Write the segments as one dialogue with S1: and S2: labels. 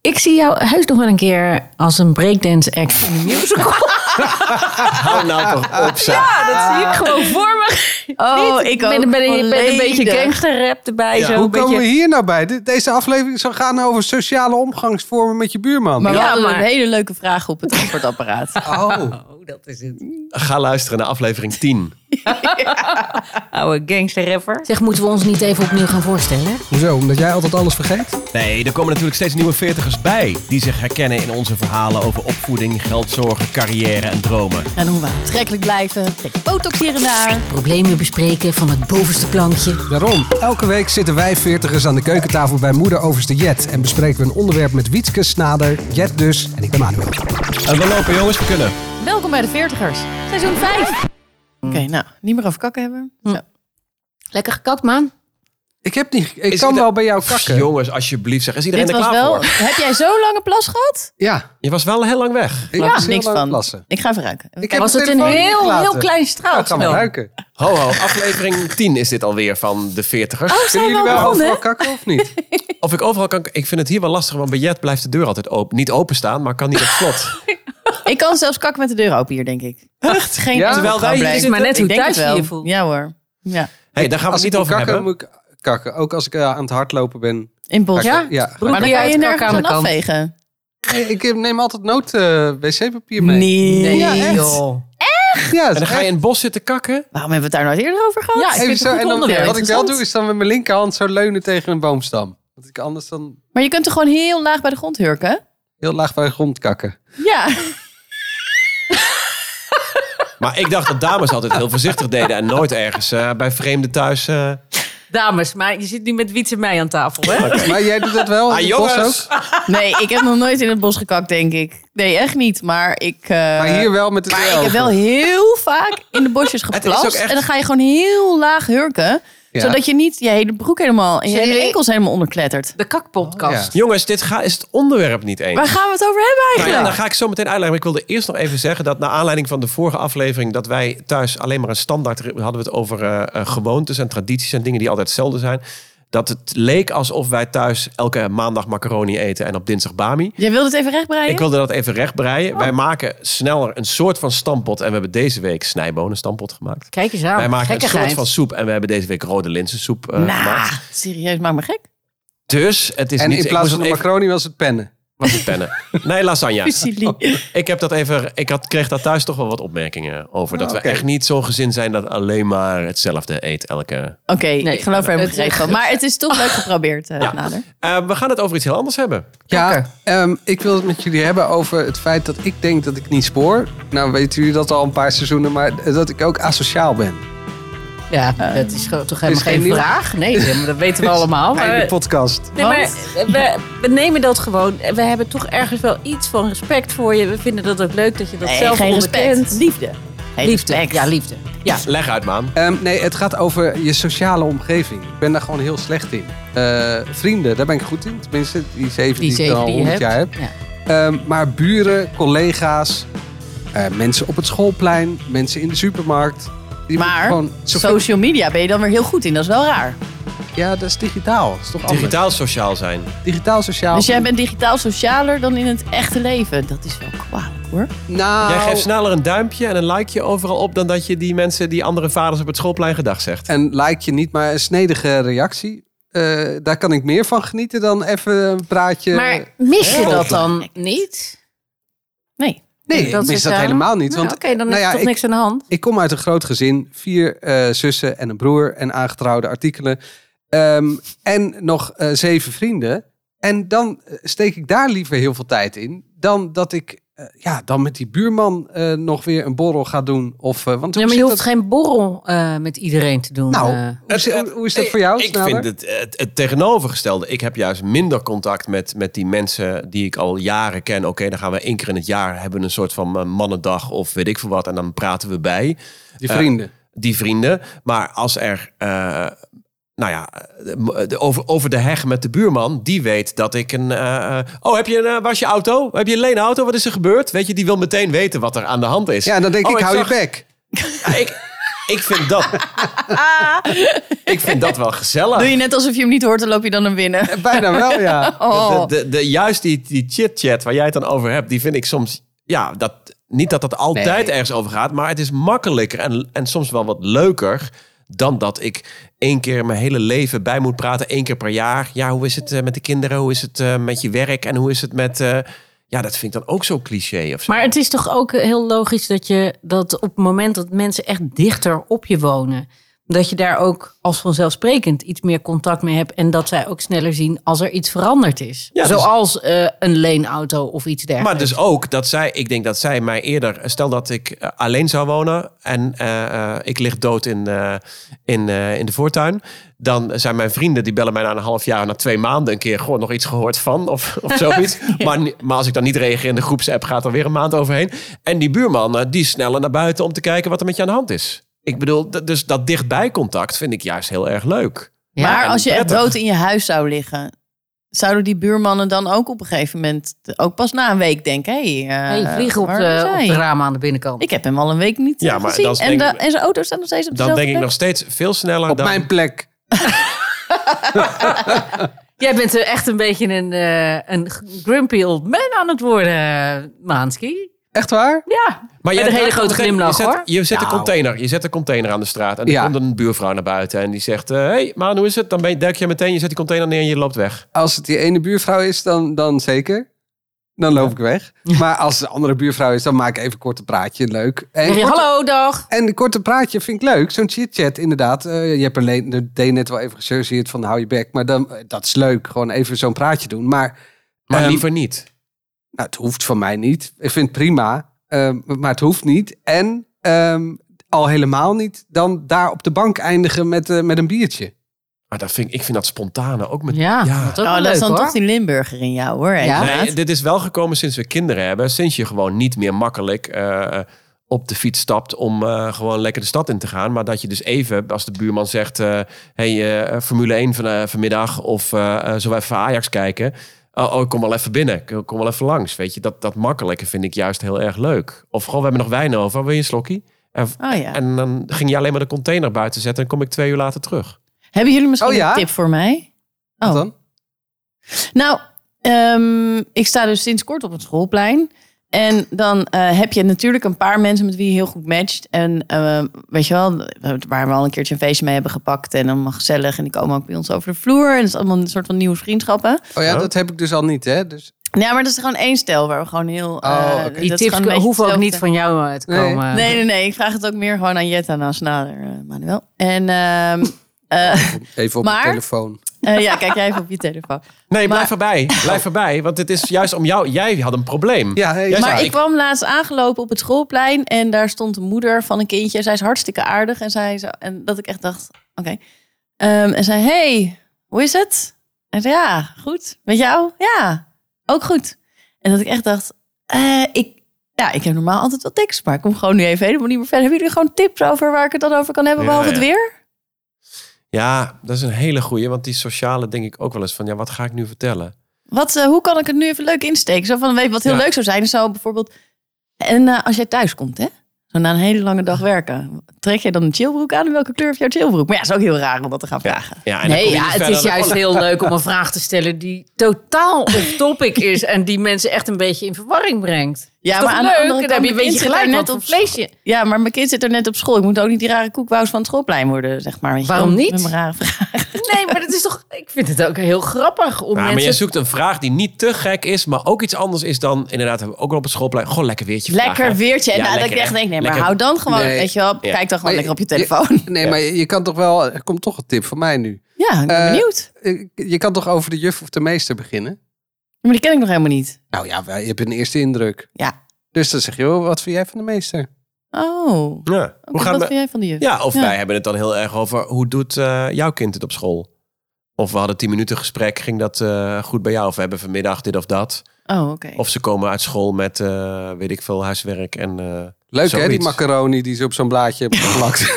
S1: Ik zie jou heus nog wel een keer als een breakdance act in een musical.
S2: Hou nou toch op, Saar.
S3: Ja, dat zie ik gewoon voor me.
S1: Oh,
S3: Niet.
S1: ik
S3: ben,
S1: ook
S3: ben, ben, een
S1: volledig.
S3: beetje gangsterrap erbij.
S2: Ja.
S3: Zo,
S4: Hoe
S3: een
S4: komen we
S3: beetje.
S4: hier nou bij? De- Deze aflevering zou gaan over sociale omgangsvormen met je buurman.
S3: Maar we
S1: Ja,
S3: hadden
S1: maar-
S3: een hele leuke vraag op het antwoordapparaat.
S4: Oh,
S1: Oh, dat is het.
S2: Ga luisteren naar aflevering 10.
S3: Oude gangsterrapper.
S1: Zeg, moeten we ons niet even opnieuw gaan voorstellen?
S4: hoezo? Omdat jij altijd alles vergeet?
S2: Nee, er komen natuurlijk steeds nieuwe veertigers bij. Die zich herkennen in onze verhalen over opvoeding, geldzorgen, carrière en dromen.
S3: En hoe we aantrekkelijk blijven. Botox hier en daar.
S1: Problemen bespreken van het bovenste plankje.
S4: Daarom. Elke week zitten wij veertigers aan de keukentafel bij moeder overste Jet. En bespreken we een onderwerp met Wietske Snader, Jet dus en ik ben Manuel.
S2: En Eh, we lopen jongens, we kunnen.
S3: Welkom bij de Veertigers. Seizoen 5. Oké, nou, niet meer over kakken hebben. Zo.
S1: Lekker gekakt, man.
S4: Ik, heb niet, ik
S2: Is
S4: kan
S2: het-
S4: wel bij jou kakken.
S2: Jongens, alsjeblieft zeg. Is iedereen
S3: Dit
S2: er
S3: was
S2: klaar
S3: wel...
S2: voor?
S3: Heb jij zo'n lange plas gehad?
S4: Ja,
S2: Je was wel heel lang weg.
S4: ik
S3: Daar
S4: was heel
S3: niks
S4: lang
S3: van.
S4: plassen.
S3: Ik ga even ruiken.
S4: Ik heb
S1: Was
S4: mijn
S1: het een
S4: telefoon niet
S1: heel,
S4: gelaten.
S1: heel klein
S4: Ja, ik kan wel
S1: straaltje?
S4: ruiken.
S2: Ho, ho, aflevering 10 is dit alweer van de veertigers.
S4: Kunnen
S3: we
S4: jullie
S3: al
S4: wel
S3: begonnen?
S4: overal kakken of niet?
S2: Of ik overal kan... Ik vind het hier wel lastig, want bij Jet blijft de deur altijd open. Niet openstaan, maar kan niet op slot.
S3: Ik kan zelfs kakken met de deur open hier, denk ik. Echt? Geen
S4: Ja?
S3: enkel
S2: Terwijl wij
S3: probleem.
S2: hier
S1: Het is maar net
S3: Ik
S1: hoe
S3: denk
S1: thuis
S3: het
S1: je
S3: wel.
S1: je voelt.
S3: Ja hoor. Ja.
S2: hey, daar gaan we
S4: Als
S2: het niet over
S4: ik moet kakken,
S2: hebben.
S4: moet ik kakken. Ook als ik eh, aan het hardlopen ben.
S3: In bos.
S4: Ja? Ja.
S1: Broek
S3: Maar dan
S1: eruit,
S3: kan je
S1: kak
S3: nergens
S1: aan de
S3: aan
S1: kant.
S3: afvegen.
S4: Nee, ik neem altijd nood eh, wc-papier mee.
S3: Nee.
S4: Ja, echt.
S1: joh.
S4: Ja,
S2: En dan ga je in het bos zitten kakken.
S3: Waarom hebben we het daar nooit eerder over gehad?
S1: Ja, ik vind het een goed
S4: en dan,
S1: onderwerp.
S4: wat ik wel
S1: Interessant.
S4: doe, is dan met mijn linkerhand zo leunen tegen een boomstam. Want ik anders dan
S3: Maar je kunt er gewoon heel laag bij de grond hurken.
S4: heel laag bij de grond kakken.
S3: Ja.
S2: Maar ik dacht dat dames altijd heel voorzichtig deden. En nooit ergens eh, bij vreemden thuis... eh,
S1: Dames, maar je zit nu met Wiets en mij aan tafel, hè?
S4: Maar jij doet dat wel in
S2: ah,
S4: het bos ook?
S2: jongens!
S3: Nee, ik heb nog nooit in het bos gekakt, denk ik. Nee, echt niet. Maar ik... eh,
S4: Maar hier wel met de
S3: Maar ik heb wel heel vaak in de bosjes
S2: is ook
S3: geplast.
S2: echt-
S3: En dan ga je gewoon heel laag hurken.
S4: Ja.
S3: Zodat je niet je hele broek helemaal... en je
S1: Zullen
S3: hele
S1: we-
S3: enkels helemaal onderklettert.
S1: De kakpodcast.
S4: Ja.
S2: Jongens, dit ga, is het onderwerp niet eens.
S3: Waar gaan we het over hebben
S2: Nou
S3: eigenlijk?
S2: ja, dan ga ik zo meteen uitleggen. Maar ik wilde eerst nog even zeggen dat naar aanleiding van de vorige aflevering... dat wij thuis alleen maar een standaard... hadden we het over eh, eh, gewoontes en tradities en dingen die altijd hetzelfde zijn. Dat het leek alsof wij thuis elke maandag macaroni eten en op dinsdag bami.
S3: Jij wilde het even rechtbreien?
S2: Ik wilde dat even
S4: Oh.
S2: rechtbreien. Wij maken sneller een soort van stampot. En we hebben deze week snijbonen stampot gemaakt.
S1: Kijk eens aan.
S2: wij maken een
S1: Gekkigheid.
S2: soort van soep. En we hebben deze week rode linzensoep eh,
S3: Nou,
S2: gemaakt.
S3: serieus, maak me gek.
S2: Dus het is
S4: En
S2: niet...
S4: in
S2: ik
S4: plaats
S2: moest
S4: van de
S2: het even-
S4: macaroni was het pennen.
S2: was het pennen. Nee, lasagne.
S3: Fusilie.
S2: Ik heb dat even. Ik had, kreeg daar thuis toch wel wat opmerkingen over. Dat
S4: Ah, oké.
S2: we echt niet zo'n gezin zijn dat alleen maar hetzelfde eet elke.
S3: Oké, ik geloof er helemaal
S1: het-
S3: geen van. Maar het is toch leuk geprobeerd, eh
S2: Ja.
S3: Nader.
S2: Eh, we gaan het over iets heel anders hebben.
S4: Ja, ehm, ik wil het met jullie hebben over het feit dat ik denk dat ik niet spoor. Nou weten jullie dat al een paar seizoenen, maar dat ik ook asociaal ben.
S1: Ja, dat is gewoon toch helemaal
S4: geen
S1: geen
S4: nieuw-
S1: vraag? Nee, maar dat weten we allemaal.
S4: Einde
S1: Oh, Maar
S4: podcast.
S5: Nee, maar we, we nemen dat gewoon. En We hebben toch ergens wel iets van respect voor je. We vinden dat ook leuk dat je dat
S3: Nee,
S5: zelf
S3: geen respect.
S5: onderkent.
S3: Liefde. Hey,
S1: liefde.
S3: respect.
S1: Ja, liefde.
S2: Leg uit, maan.
S4: Ehm, nee, het gaat over je sociale omgeving. Ik ben daar gewoon heel slecht in. Eh, vrienden, daar ben ik goed in. Tenminste, die zeven die,
S1: Die
S4: ik
S1: zeven
S4: al
S1: die je hebt.
S4: jaar heb.
S1: Ja.
S4: Ehm, maar buren, collega's, eh, mensen op het schoolplein, mensen in de supermarkt. Die moet je
S3: Maar
S4: gewoon zoveel-
S3: social media ben je dan weer heel goed in. Dat is wel raar.
S4: Ja, dat is digitaal. Dat is toch anders?
S2: Digitaal sociaal zijn.
S4: Digitaal sociaal.
S3: Dus jij bent digitaal socialer dan in het echte leven. Dat is wel kwalijk hoor.
S4: Nou,
S2: Jij geeft sneller een duimpje en een likeje overal op dan dat je die mensen, die andere vaders op het schoolplein gedag zegt.
S4: en like je niet, maar een snedige reactie. Eh, daar kan ik meer van genieten dan even een praatje.
S1: Maar mis je dat dan niet?
S3: Nee.
S4: nee,
S1: dat
S4: dat
S1: is
S4: is dat
S1: dan-
S4: helemaal niet.
S5: Nou,
S4: Want
S5: Oké, dan is
S4: nou ja,
S5: er toch
S4: ik-
S5: niks aan de hand.
S4: Ik kom uit een groot gezin. Vier eh, zussen en een broer en aangetrouwde artikelen. Ehm, en nog eh, zeven vrienden. En dan eh, steek ik daar liever heel veel tijd in. Dan dat ik eh, ja, dan met die buurman eh, nog weer een borrel ga doen. Of, eh, want hoe
S1: Ja, maar je
S4: zit
S1: hoeft
S4: dat-
S1: geen borrel eh, met iedereen te doen.
S4: Nou,
S1: eh.
S4: hoe, zit-
S2: Het-
S4: hoe is dat voor jou?
S2: Ik
S4: Snader?
S2: vind het, het, het tegenovergestelde. Ik heb juist minder contact met, met die mensen die ik al jaren ken. Oké, dan gaan we één keer in het jaar hebben we een soort van eh, mannendag of weet ik veel wat. En dan praten we bij.
S4: Die vrienden.
S2: die vrienden. Maar als er, eh, nou ja, de- de- over, over de heg met de buurman, die weet dat ik een. eh, eh, oh, heb je een, eh, was je auto? Heb je een leenauto? Wat is er gebeurd? Weet je, die wil meteen weten wat er aan de hand is.
S4: ja, dan denk
S2: Oh,
S4: ik, hou
S2: zag-
S4: je bek.
S2: Ik, ik vind dat. ik vind dat wel gezellig.
S3: Doe je net alsof je hem niet hoort, dan loop je dan hem binnen.
S4: Eh, Bijna wel, ja.
S3: Oh.
S2: De, de, de, juist die, die chit-chat waar jij het dan over hebt, die vind ik soms... Ja, dat, niet dat dat altijd
S3: Nee.
S2: ergens over gaat, maar het is makkelijker en, en soms wel wat leuker dan dat ik één keer mijn hele leven bij moet praten, één keer per jaar. Ja, hoe is het eh, met de kinderen? Hoe is het eh, met je werk? En hoe is het met... eh, ja, dat vind ik dan ook zo cliché of zo.
S1: Maar het is toch ook eh, heel logisch dat je dat op het moment dat mensen echt dichter op je wonen, dat je daar ook als vanzelfsprekend iets meer contact mee hebt en dat zij ook sneller zien als er iets veranderd is.
S2: Ja, dus-
S1: Zoals eh, een leenauto of iets dergelijks.
S2: Maar dus ook dat zij, ik denk dat zij mij eerder, stel dat ik eh, alleen zou wonen en eh, eh, ik lig dood in, eh, in, eh, in de voortuin, dan zijn mijn vrienden die bellen mij na een half jaar, na twee maanden een keer gewoon nog iets gehoord van of, of zoiets. maar, ni- maar als ik dan niet reageer in de groepsapp, gaat er weer een maand overheen. En die buurman, eh, die is sneller naar buiten om te kijken wat er met je aan de hand is. Ik bedoel, d- dus dat dichtbij contact vind ik juist heel erg leuk.
S1: Ja,
S3: dus- maar
S2: en
S3: als je echt
S2: prettig.
S3: dood in je huis zou liggen, zouden die buurmannen dan ook op een gegeven moment, ook pas na een week denken: hé, hey, eh,
S1: Hey, vliegen op
S3: waar
S1: de,
S3: is
S1: op
S3: hij?
S1: de ramen aan de binnenkant.
S3: Ik heb hem al een week niet
S2: Ja,
S3: eh,
S2: maar
S3: gezien.
S2: dat is
S3: en,
S2: denk
S3: da-
S2: ik-
S3: en zijn auto staat nog steeds
S2: Dan
S3: op dezelfde
S2: denk ik
S3: plek.
S2: nog steeds veel sneller
S4: Op
S2: dan...
S4: mijn plek.
S1: Jij bent eh, echt een beetje een, eh, een grumpy old man aan het worden, Maanski.
S4: Echt waar?
S1: Ja,
S2: Maar
S1: Met
S2: jij
S1: een hele grote
S2: meteen-
S1: glimlach,
S2: je zet,
S1: hoor.
S2: Je zet, een
S4: Nou.
S2: container, je zet een container aan de straat. En dan
S4: Ja.
S2: komt een buurvrouw naar buiten. En die zegt, eh, hey man, hoe is het? Dan ben je, duik je meteen, je zet die container neer en je loopt weg.
S4: Als het die ene buurvrouw is, dan, dan zeker. Dan loop ik weg. Maar als het een andere buurvrouw is, dan maak ik even kort een praatje. Leuk. En,
S1: Zeg je,
S4: kort-
S1: hallo, dag.
S4: en een korte praatje vind ik leuk. Zo'n chit-chat, inderdaad. Eh, je hebt alleen, er deed net wel even gesurgeerd van hou je bek. Maar dan, eh, dat is leuk. Gewoon even zo'n praatje doen. Maar
S2: Maar
S4: Ehm,
S2: liever niet.
S4: nou, het hoeft van mij niet. Ik vind het prima. ehm, maar het hoeft niet. En ehm, al helemaal niet. Dan daar op de bank eindigen met, eh, met een biertje.
S2: Maar dat vind, ik- ik vind dat spontane ook met...
S1: Ja, dat is ook
S3: Oh,
S1: wel
S3: dat is
S1: leuk
S3: dan
S1: hoor.
S3: toch die Limburger in jou hoor.
S1: Ja.
S3: inderdaad.
S2: Nee, dit is wel gekomen sinds we kinderen hebben. Sinds je gewoon niet meer makkelijk eh, op de fiets stapt om eh, gewoon lekker de stad in te gaan. Maar dat je dus even, als de buurman zegt... eh, hey, eh, Formule 1 van, eh, vanmiddag of eh eh, zullen we even Ajax kijken... Oh, oh, ik kom wel even binnen. Ik kom wel even langs. Weet je, dat, dat makkelijke vind ik juist heel erg leuk. Of gewoon, we hebben nog wijn over. Wil je een slokkie? En,
S3: Oh ja.
S2: en dan ging je alleen maar de container buiten zetten... en kom ik twee uur later terug.
S3: Hebben jullie misschien
S4: Oh, ja?
S3: een tip voor mij?
S4: Wat
S3: Oh.
S4: dan?
S3: Nou, ehm, ik sta dus sinds kort op het schoolplein. En dan eh, heb je natuurlijk een paar mensen met wie je heel goed matcht. En ehm, weet je wel, waar we al een keertje een feestje mee hebben gepakt. En allemaal gezellig. En die komen ook bij ons over de vloer. En het is allemaal een soort van nieuwe vriendschappen.
S4: Oh ja,
S2: Ja.
S4: dat heb ik dus al niet. Hè? Dus,
S3: Ja, maar dat is gewoon één stel waar we gewoon heel... eh,
S4: Oh, oké.
S3: dat is
S1: Die
S3: gewoon
S1: tips
S3: een beetje
S1: hoeven ook
S3: hetzelfde.
S1: niet van jou eh, te
S4: Nee.
S1: komen.
S3: Nee, nee, nee. Ik vraag het ook meer gewoon aan Jetta en aan Snader, eh, Manuel. En ehm, eh,
S4: even op
S3: Maar-
S4: mijn telefoon.
S3: eh, ja, kijk jij even op je telefoon.
S2: Nee, blijf
S3: Maar-
S2: erbij. Blijf erbij. Want het is juist om jou... Jij had een probleem.
S4: Ja, hey,
S2: Jij
S4: maar
S2: zei,
S3: Maar ik kwam laatst aangelopen op het schoolplein en daar stond de moeder van een kindje. Zij is hartstikke aardig en, zij zo, en dat ik echt dacht, oké. Ehm, en zei, hey, hoe is het? En zei, ja, goed. Met jou? Ja, ook goed. En dat ik echt dacht, eh, ik, ja, ik heb normaal altijd wel tekst, maar ik kom gewoon nu even helemaal niet meer verder. Hebben jullie gewoon tips over waar ik het dan over kan hebben,
S2: Ja,
S3: behalve
S2: ja.
S3: het weer?
S2: Ja, dat is een hele goeie. Want die sociale denk ik ook wel eens van... ja, wat ga ik nu vertellen?
S3: Wat, eh, hoe kan ik het nu even leuk insteken? Zo van, weet je wat heel
S2: Ja.
S3: leuk zou zijn? Is Zo bijvoorbeeld, en eh, als jij thuis komt, hè? Zo na een hele lange dag werken. Trek jij dan een chillbroek aan? En welke kleur heeft jouw chillbroek? Maar ja, is ook heel raar om dat te gaan vragen.
S2: Ja, dan
S1: Nee,
S2: kom je
S1: ja,
S2: niet
S1: het
S2: verder
S1: is
S2: dan-
S1: juist heel leuk om een vraag te stellen die totaal off-topic is en die mensen echt een beetje in verwarring brengt.
S3: Ja,
S1: Is toch
S3: maar aan de
S1: leuk?
S3: andere
S1: En
S3: kant,
S1: dan heb je een
S3: mijn
S1: beetje
S3: kind zit
S1: gelijk
S3: daar
S1: net
S3: net
S1: op
S3: op
S1: vleesje.
S3: Ja, maar mijn kind zit er net op school. Ik moet ook niet die rare koekwous van het schoolplein worden, zeg maar. Weet je
S1: Waarom
S3: wel,
S1: niet?
S3: Met mijn rare vragen.
S1: Nee, maar dat is toch. Ik vind het ook heel grappig om
S2: Ja, maar je
S1: mensen.
S2: zoekt een vraag die niet te gek is, maar ook iets anders is dan inderdaad hebben we ook wel op het schoolplein. Goh, lekker weertje.
S3: Lekker
S2: vragen.
S3: weertje. En
S2: Ja,
S3: nou, dat
S2: lekker,
S3: ik echt
S2: hè?
S3: denk, nee, maar
S2: Lekker.
S3: hou dan gewoon,
S4: Nee.
S3: weet je wel.
S2: Ja.
S3: Kijk dan
S4: Maar
S3: gewoon
S4: je-
S3: lekker op je
S4: je-
S3: telefoon.
S4: Nee, maar je je kan toch wel... Er komt toch een tip van mij nu.
S3: Ja, ik ben
S4: Eh,
S3: benieuwd.
S4: Eh, Je kan toch over de juf of de meester beginnen?
S3: Maar die ken ik nog helemaal niet.
S4: Nou ja, wij- je hebt een eerste indruk.
S3: Ja.
S4: Dus dan zeg je, oh, wat vind jij van de meester?
S3: Oh, oké,
S2: Ja. Hoe gaan
S3: wat
S2: we-
S3: vind jij van die juf?
S2: ja, of
S3: Ja.
S2: wij hebben het dan heel erg over hoe doet eh, jouw kind het op school? Of we hadden tien minuten gesprek, ging dat eh, goed bij jou? Of we hebben vanmiddag dit of dat.
S3: Oh, oké.
S2: Of ze komen uit school met, eh, weet ik veel, huiswerk. En, eh,
S4: Leuk hè, die
S2: Zoiets.
S4: macaroni die ze op zo'n blaadje hebben geplakt.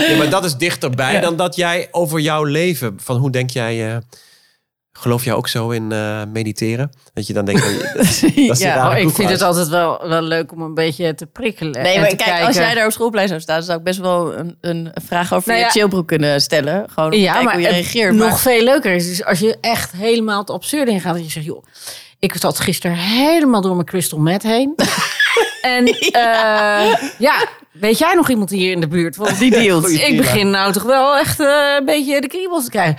S2: Ja, maar dat is dichterbij dan dat jij over jouw leven, van hoe denk jij eh, Geloof jij ook zo in eh, mediteren? Dat je dan denkt, oh, je- dat is die
S3: Ja,
S2: rare
S1: Oh, ik
S2: ploeg
S1: vind
S2: uit.
S1: het altijd wel, wel leuk om een beetje te prikkelen.
S3: Nee,
S1: Eh, en
S3: maar
S1: te
S3: kijk, als
S1: kijken.
S3: jij daar op schoolplein zou staan, zou ik best wel een, een vraag over
S1: Nou ja.
S3: je chillbroek kunnen stellen. Gewoon om te
S1: Ja,
S3: kijken
S1: maar
S3: hoe je
S1: het
S3: reageert.
S1: nog
S3: Maar-
S1: veel leuker is dus als je echt helemaal het absurde in gaat. Dat je zegt, joh, ik zat gisteren helemaal door mijn crystal meth heen. en eh, ja, weet jij nog iemand hier in de buurt? Want die deelt.
S2: Goeie
S1: ik begin nou toch wel echt eh, een beetje de kriebels te krijgen.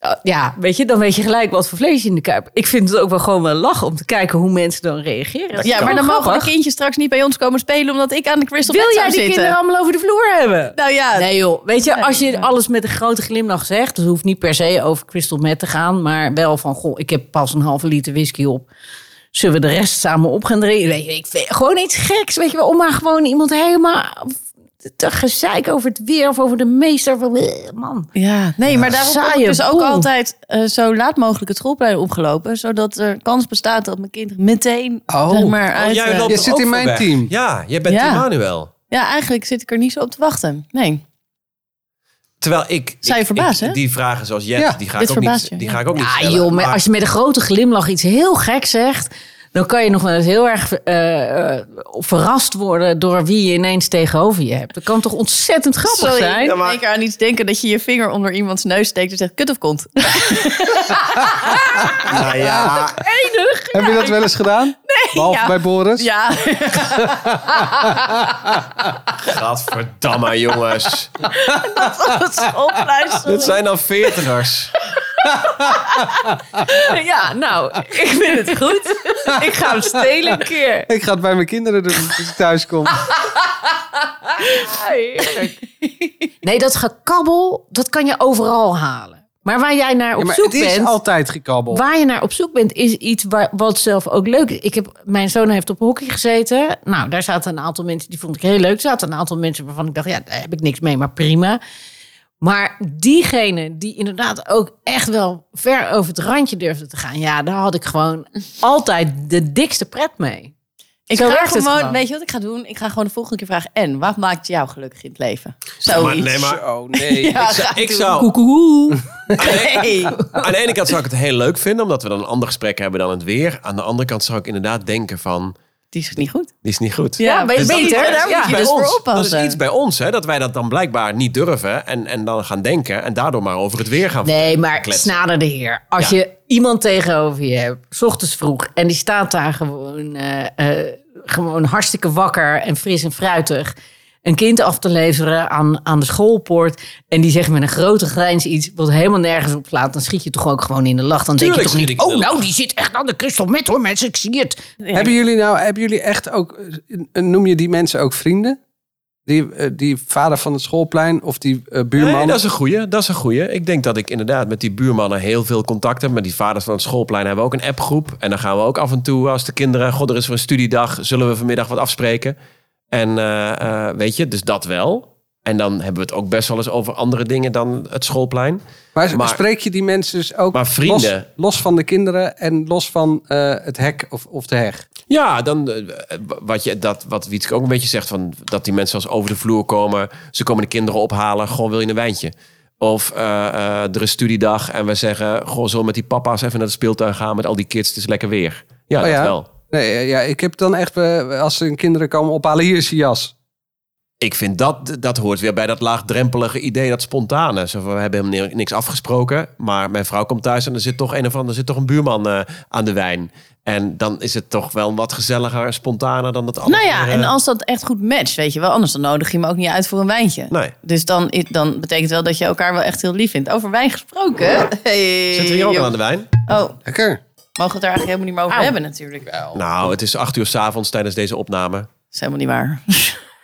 S1: Oh, Ja, weet je, dan weet je gelijk wat voor vlees je in de kuip. Ik vind het ook wel gewoon wel lachen om te kijken hoe mensen dan reageren. Dat is
S3: ja, maar
S1: wel
S3: dan mogen de
S1: grappig.
S3: kindjes straks niet bij ons komen spelen omdat ik aan de crystal
S1: Wil
S3: meth
S1: jij
S3: zou
S1: die
S3: zitten.
S1: kinderen allemaal over de vloer hebben?
S3: Nou ja,
S1: Nee joh, weet je,
S3: Nee,
S1: als je
S3: ja.
S1: alles met een grote glimlach zegt... dat hoeft niet per se over crystal meth te gaan... maar wel van, goh, ik heb pas een halve liter whisky op. Zullen we de rest samen op gaan drinken? Weet je, ik vind gewoon iets geks, weet je wel. Om maar gewoon iemand helemaal te gezeik over het weer... of over de meester van, eh, man.
S3: Ja, nee, maar daarom heb ik
S1: Saaie
S3: dus ook
S1: boel.
S3: altijd eh, zo laat mogelijk het schoolplein opgelopen. Zodat er kans bestaat dat mijn kind meteen
S4: Oh.
S3: zeg maar,
S2: Oh,
S3: uit...
S2: jij
S3: eh,
S2: loopt
S4: Je
S2: er
S4: zit
S2: ook
S4: in
S2: voor
S4: mijn
S2: weg.
S4: team.
S2: Ja, jij bent
S3: Ja.
S2: Team Manuel.
S3: ja, eigenlijk zit ik er niet zo op te wachten. Nee.
S2: Terwijl ik...
S3: Zijn je
S2: ik-
S3: verbaasd,
S2: ik-
S3: hè?
S2: Die vragen zoals Jet,
S4: Ja,
S2: die, ga
S3: dit
S2: ik ook niet,
S3: verbaast je,
S2: die
S3: ja.
S2: ga ik ook niet
S1: Ja
S2: stellen.
S1: joh, maar
S2: Maar-
S1: als je met een grote glimlach iets heel geks zegt... dan kan je nog wel eens heel erg eh, eh, verrast worden... door wie je ineens tegenover je hebt. Dat kan toch ontzettend grappig
S3: Sorry,
S1: zijn?
S3: ik
S2: Ja, maar-
S3: denk er aan iets denken dat je je vinger onder iemands neus steekt en zegt kut of kont.
S2: Nou ja,
S4: Heb je dat wel eens gedaan? Nee. Behalve
S3: ja.
S4: bij Boris?
S3: Ja,
S2: Gadverdamme, jongens.
S3: dat is opluisteren.
S2: Dit zijn dan veertigers.
S1: Ja, nou, ik vind het goed. Ik ga hem stelen een keer.
S4: Ik ga het bij mijn kinderen doen als ik thuis kom.
S1: Nee, dat gekabbel, dat kan je overal halen. Maar waar jij naar op
S4: Ja, maar
S1: zoek
S4: het is
S1: bent,
S4: altijd gekabbel.
S1: waar je naar op zoek bent, is iets waar, wat zelf ook leuk is. Ik heb, mijn zoon heeft op hockey gezeten. Nou, daar zaten een aantal mensen die vond ik heel leuk. Er zaten een aantal mensen waarvan ik dacht, ja, daar heb ik niks mee, maar prima. Maar diegene die inderdaad ook echt wel ver over het randje durfde te gaan, ja, daar had ik gewoon altijd de dikste pret mee.
S3: Ik
S1: Zo
S3: ga
S1: werkt het
S3: gewoon,
S1: gewoon.
S3: weet je wat ik ga doen? Ik ga gewoon de volgende keer vragen. En, wat maakt jou gelukkig in het leven?
S2: Ja,
S3: Zoiets.
S2: maar- nee, maar
S4: Zo, nee.
S3: Ja, ga
S2: ik
S3: doen.
S2: zou...
S1: Koekoe.
S3: Nee.
S2: Aan de ene kant zou ik het heel leuk vinden, omdat we dan een ander gesprek hebben dan het weer. Aan de andere kant zou ik inderdaad denken van,
S3: Die is niet goed.
S2: die is niet goed.
S1: Ja, ben je
S3: dus dat-
S1: beter?
S3: Daar
S1: Ja,
S3: moet je
S2: bij ons.
S3: dus voor
S2: Dat is
S3: oppassen.
S2: iets bij ons, hè, dat wij dat dan blijkbaar niet durven en, en dan gaan denken en daardoor maar over het weer gaan.
S1: Nee, maar
S2: kletsen.
S1: snader de heer. Als
S2: Ja.
S1: je iemand tegenover je hebt, 's ochtends vroeg, en die staat daar gewoon, eh, eh, gewoon hartstikke wakker en fris en fruitig. Een kind af te leveren aan, aan de schoolpoort. En die zegt met een grote grijns iets wat helemaal nergens op slaat. Dan schiet je toch ook gewoon in de lach. Dan
S2: Tuurlijk
S1: denk je
S2: schiet
S1: toch
S2: ik
S1: niet.
S2: in
S1: Oh,
S2: de
S1: nou, die zit echt aan de crystal met hoor, mensen. Ik zie het.
S4: Hebben jullie nou, hebben jullie echt ook, eh, noem je die mensen ook vrienden? Die, eh, die vader van het schoolplein of die eh, buurman?
S2: Nee, dat is een goeie. Dat is een goeie. Ik denk dat ik inderdaad met die buurmannen heel veel contact heb. Met die vaders van het schoolplein hebben we ook een appgroep. En dan gaan we ook af en toe als de kinderen... God, er is voor een studiedag. Zullen we vanmiddag wat afspreken? En eh, eh, weet je, dus dat wel. En dan hebben we het ook best wel eens over andere dingen dan het schoolplein.
S4: maar,
S2: maar-
S4: spreek je die mensen dus ook
S2: Maar vrienden.
S4: Los, los van de kinderen en los van eh, het hek of, of de heg?
S2: Ja, dan eh, wat, je, dat, wat Wietske ook een beetje zegt, van, dat die mensen als over de vloer komen. Ze komen de kinderen ophalen, gewoon wil je een wijntje. Of eh, eh, er is studiedag en we zeggen, goh, zullen we met die papa's even naar de speeltuin gaan met al die kids, het is lekker weer. Ja,
S4: Oh
S2: dat
S4: ja?
S2: wel.
S4: Nee, eh, ja, ik heb dan echt, eh, als hun kinderen komen ophalen, hier is je jas.
S2: Ik vind dat, dat hoort weer bij dat laagdrempelige idee, dat spontane. Zo van, we hebben helemaal ni- niks afgesproken, maar mijn vrouw komt thuis en er zit toch een of ander, er zit toch een buurman eh, aan de wijn. En dan is het toch wel wat gezelliger en spontaner dan dat andere.
S3: Nou ja, en
S2: eh,
S3: als dat echt goed matcht, weet je wel. Anders dan nodig je me ook niet uit voor een wijntje.
S2: Nee.
S3: Dus dan, i- dan betekent wel dat je elkaar wel echt heel lief vindt. Over wijn gesproken. Hey,
S2: Zitten we hier ook
S3: Eh, joh.
S2: al aan de wijn?
S3: Oh,
S4: Lekker.
S3: mogen we het daar eigenlijk helemaal niet meer over hebben natuurlijk. Wel. Dat
S2: Nou, het is acht uur 's avonds tijdens deze opname.
S3: is helemaal niet waar.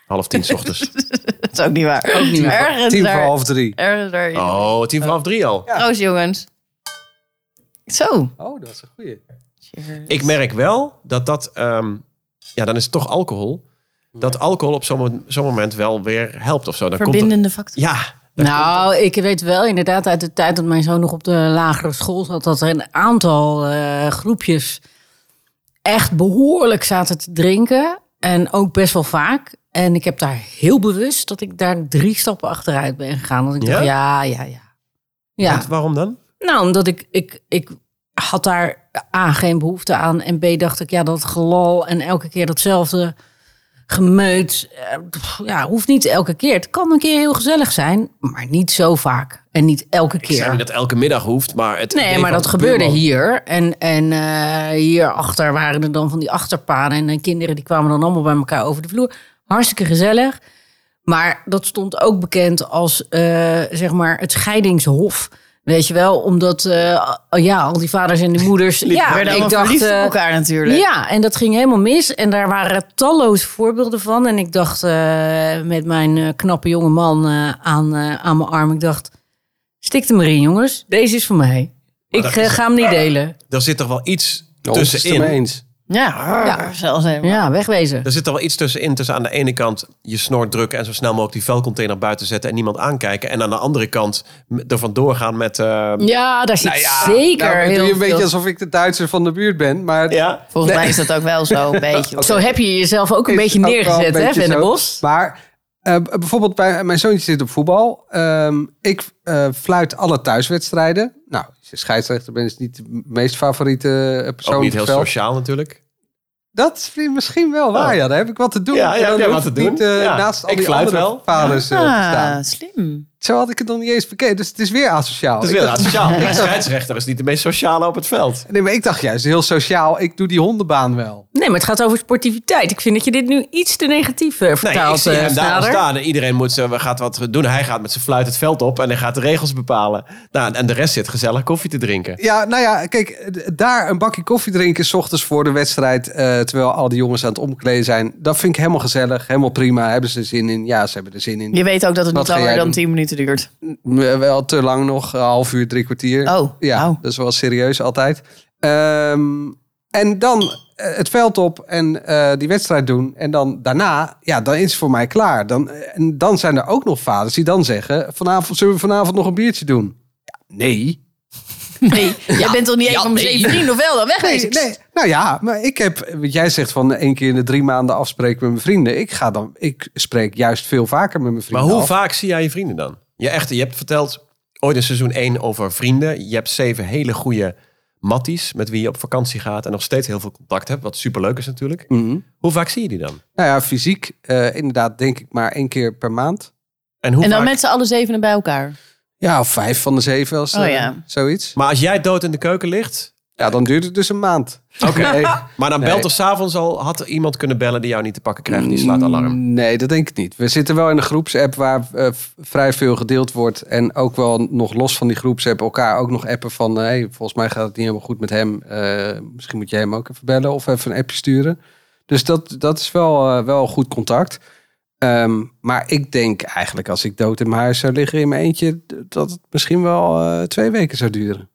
S2: Half tien 's ochtends.
S3: dat is ook niet waar. Ook niet waar. Ergens
S4: Tien voor
S3: daar.
S4: half drie.
S3: Ergens daar.
S2: Oh, tien voor half drie al.
S3: Proost, jongens. Zo.
S4: Oh, dat is een goeie.
S2: Ik merk wel dat dat... ehm, ja, dan is het toch alcohol. Dat alcohol op zo'n mo- zo'n moment wel weer helpt of zo. Dan komt het,
S3: Verbindende factor.
S2: ja,
S1: Nou, ik weet wel inderdaad uit de tijd dat mijn zoon nog op de lagere school zat, dat er een aantal eh, groepjes echt behoorlijk zaten te drinken. En ook best wel vaak. En ik heb daar heel bewust dat ik daar drie stappen achteruit ben gegaan. Want ik
S2: Ja?
S1: dacht, ja, ja, ja. Ja,
S2: Want waarom dan?
S1: nou, omdat ik, ik, ik had daar A, geen behoefte aan. En B, dacht ik, ja, dat gelal en elke keer datzelfde gemeut. eh, pff, Ja, hoeft niet elke keer. Het kan een keer heel gezellig zijn, maar niet zo vaak. En niet elke
S2: Ik zeg
S1: keer.
S2: niet dat elke middag hoeft, maar het idee
S1: Nee, maar
S2: van
S1: dat gebeurde
S2: buurman-
S1: hier. En, en eh, hierachter waren er dan van die achterpaden. En de kinderen die kwamen dan allemaal bij elkaar over de vloer. Hartstikke gezellig. Maar dat stond ook bekend als eh, zeg maar het scheidingshof. Weet je wel, omdat eh, al- ja, al die vaders en die moeders. ja,
S3: werden
S1: ik
S3: allemaal
S1: dacht.
S3: verliefd op
S1: eh,
S3: elkaar natuurlijk.
S1: ja, en dat ging helemaal mis. En daar waren talloze voorbeelden van. En ik dacht eh, met mijn eh, knappe jonge man eh, aan, eh, aan mijn arm. Ik dacht, stik er maar in jongens. Deze is voor mij. Ik
S2: dat
S1: eh,
S2: is-
S1: ga hem niet delen.
S2: Er zit er wel iets
S4: Nou, het is het ermee
S2: tussenin.
S4: eens.
S3: Ja,
S1: Ja.
S3: zelfs helemaal.
S1: Ja, wegwezen.
S2: Er zit er wel iets tussenin. Tussen aan de ene kant je snor drukken en zo snel mogelijk die vuilcontainer buiten zetten en niemand aankijken. En aan de andere kant m- er vandoor gaan met. eh,
S1: Ja, daar zit
S2: ja,
S1: zeker
S4: Nou, ik doe
S1: heel
S4: je een beetje
S1: veel.
S4: alsof ik de Duitser van de buurt ben, maar
S2: ja.
S3: Volgens mij is dat ook wel zo, een beetje.
S1: Zo heb je jezelf ook een
S4: is
S1: beetje
S4: ook wel
S1: neergezet,
S4: een
S1: hè,
S4: beetje
S1: Vennebos?
S4: zo. Maar eh, bijvoorbeeld, bij, mijn zoontje zit op voetbal. Ehm, ik eh, fluit alle thuiswedstrijden. Nou, als je scheidsrechter bent, is niet de meest favoriete eh, persoon.
S2: Ook niet
S4: op
S2: heel
S4: het veld.
S2: sociaal natuurlijk.
S4: Dat is vi- misschien wel waar,
S2: Oh.
S4: ja. Daar heb ik wat te doen.
S2: Ja, ja,
S4: En dan
S2: heb jij
S4: hoef
S2: wat
S4: ik
S2: te doen.
S4: Niet, eh,
S2: Ja.
S4: Naast al
S2: Ik
S4: die
S2: fluit
S4: andere
S2: wel.
S4: vaders eh, te
S3: Ah,
S4: staan.
S3: slim.
S4: Zo had ik het nog niet eens bekeken. Dus het is weer asociaal.
S2: Dat is
S4: Ik
S2: wel
S4: dacht-
S2: sociaal. De scheidsrechter is niet de meest sociale op het veld.
S4: Nee, maar ik dacht juist, heel sociaal. Ik doe die hondenbaan wel.
S1: Nee, maar het gaat over sportiviteit. Ik vind dat je dit nu iets te negatief eh,
S2: Nee, ik
S1: vertaalt,
S2: zie
S1: eh,
S2: hem daar al
S1: vader.
S2: staan. En iedereen moet, eh, gaat wat doen. Hij gaat met zijn fluit het veld op en hij gaat de regels bepalen. Nou, en de rest zit gezellig koffie te drinken.
S4: Ja, nou ja, kijk, d- daar een bakje koffie drinken... s ochtends voor de wedstrijd, eh, terwijl al die jongens aan het omkleden zijn... dat vind ik helemaal gezellig, helemaal prima. Hebben ze er zin in? Ja, ze hebben er zin in.
S3: Je weet ook dat het
S4: Wat
S3: niet
S4: ga
S3: langer
S4: jij
S3: dan
S4: doen?
S3: 10 minuten duurt.
S4: Eh, Wel te lang nog, een half uur, drie kwartier.
S3: Oh,
S4: Ja,
S3: nou.
S4: dat is wel serieus altijd. Ehm, en dan eh, het veld op en eh, die wedstrijd doen. En dan daarna, ja, dan is het voor mij klaar. Dan, eh, en dan zijn er ook nog vaders die dan zeggen... Vanavond, zullen we vanavond nog een biertje doen? Ja, nee.
S3: Nee, jij bent toch niet één van mijn zeven vrienden, of wel? Dan
S4: Nee,
S3: wegwezen.
S4: nee, nou ja, maar ik heb, wat jij zegt van één keer in de drie maanden afspreken met mijn vrienden. Ik ga dan, ik spreek juist veel vaker met mijn
S2: Maar
S4: vrienden.
S2: hoe
S4: af.
S2: vaak zie jij je vrienden dan? Je, echt, je hebt verteld ooit in seizoen 1 over vrienden. Je hebt zeven hele goede matties met wie je op vakantie gaat. En nog steeds heel veel contact hebt. Wat superleuk is natuurlijk.
S4: Mhm.
S2: Hoe vaak zie je die dan?
S4: Nou ja, fysiek, eh, inderdaad, denk ik maar één keer per maand.
S2: En hoe
S3: En dan
S2: vaak-
S3: met z'n allen zevenen bij elkaar.
S4: Ja, of vijf van de zeven als
S3: Oh
S4: eh,
S3: ja.
S4: zoiets.
S2: Maar als jij dood in de keuken ligt...
S4: Ja, dan duurt het dus een maand.
S2: Oké. Maar dan belt
S4: Nee. Mm.
S2: er s'avonds al... Had er iemand kunnen bellen die jou niet te pakken krijgt. Die slaat alarm.
S4: Nee, dat denk ik niet. We zitten wel in een groepsapp waar eh, v- vrij veel gedeeld wordt. En ook wel nog los van die groepsapp elkaar ook nog appen van... eh, hey, volgens mij gaat het niet helemaal goed met hem. Eh, misschien moet jij hem ook even bellen of even een appje sturen. Dus dat, dat is wel, eh, wel goed contact. Ehm, maar ik denk eigenlijk als ik dood in mijn huis zou liggen in mijn eentje... d- dat het misschien wel eh, twee weken zou duren.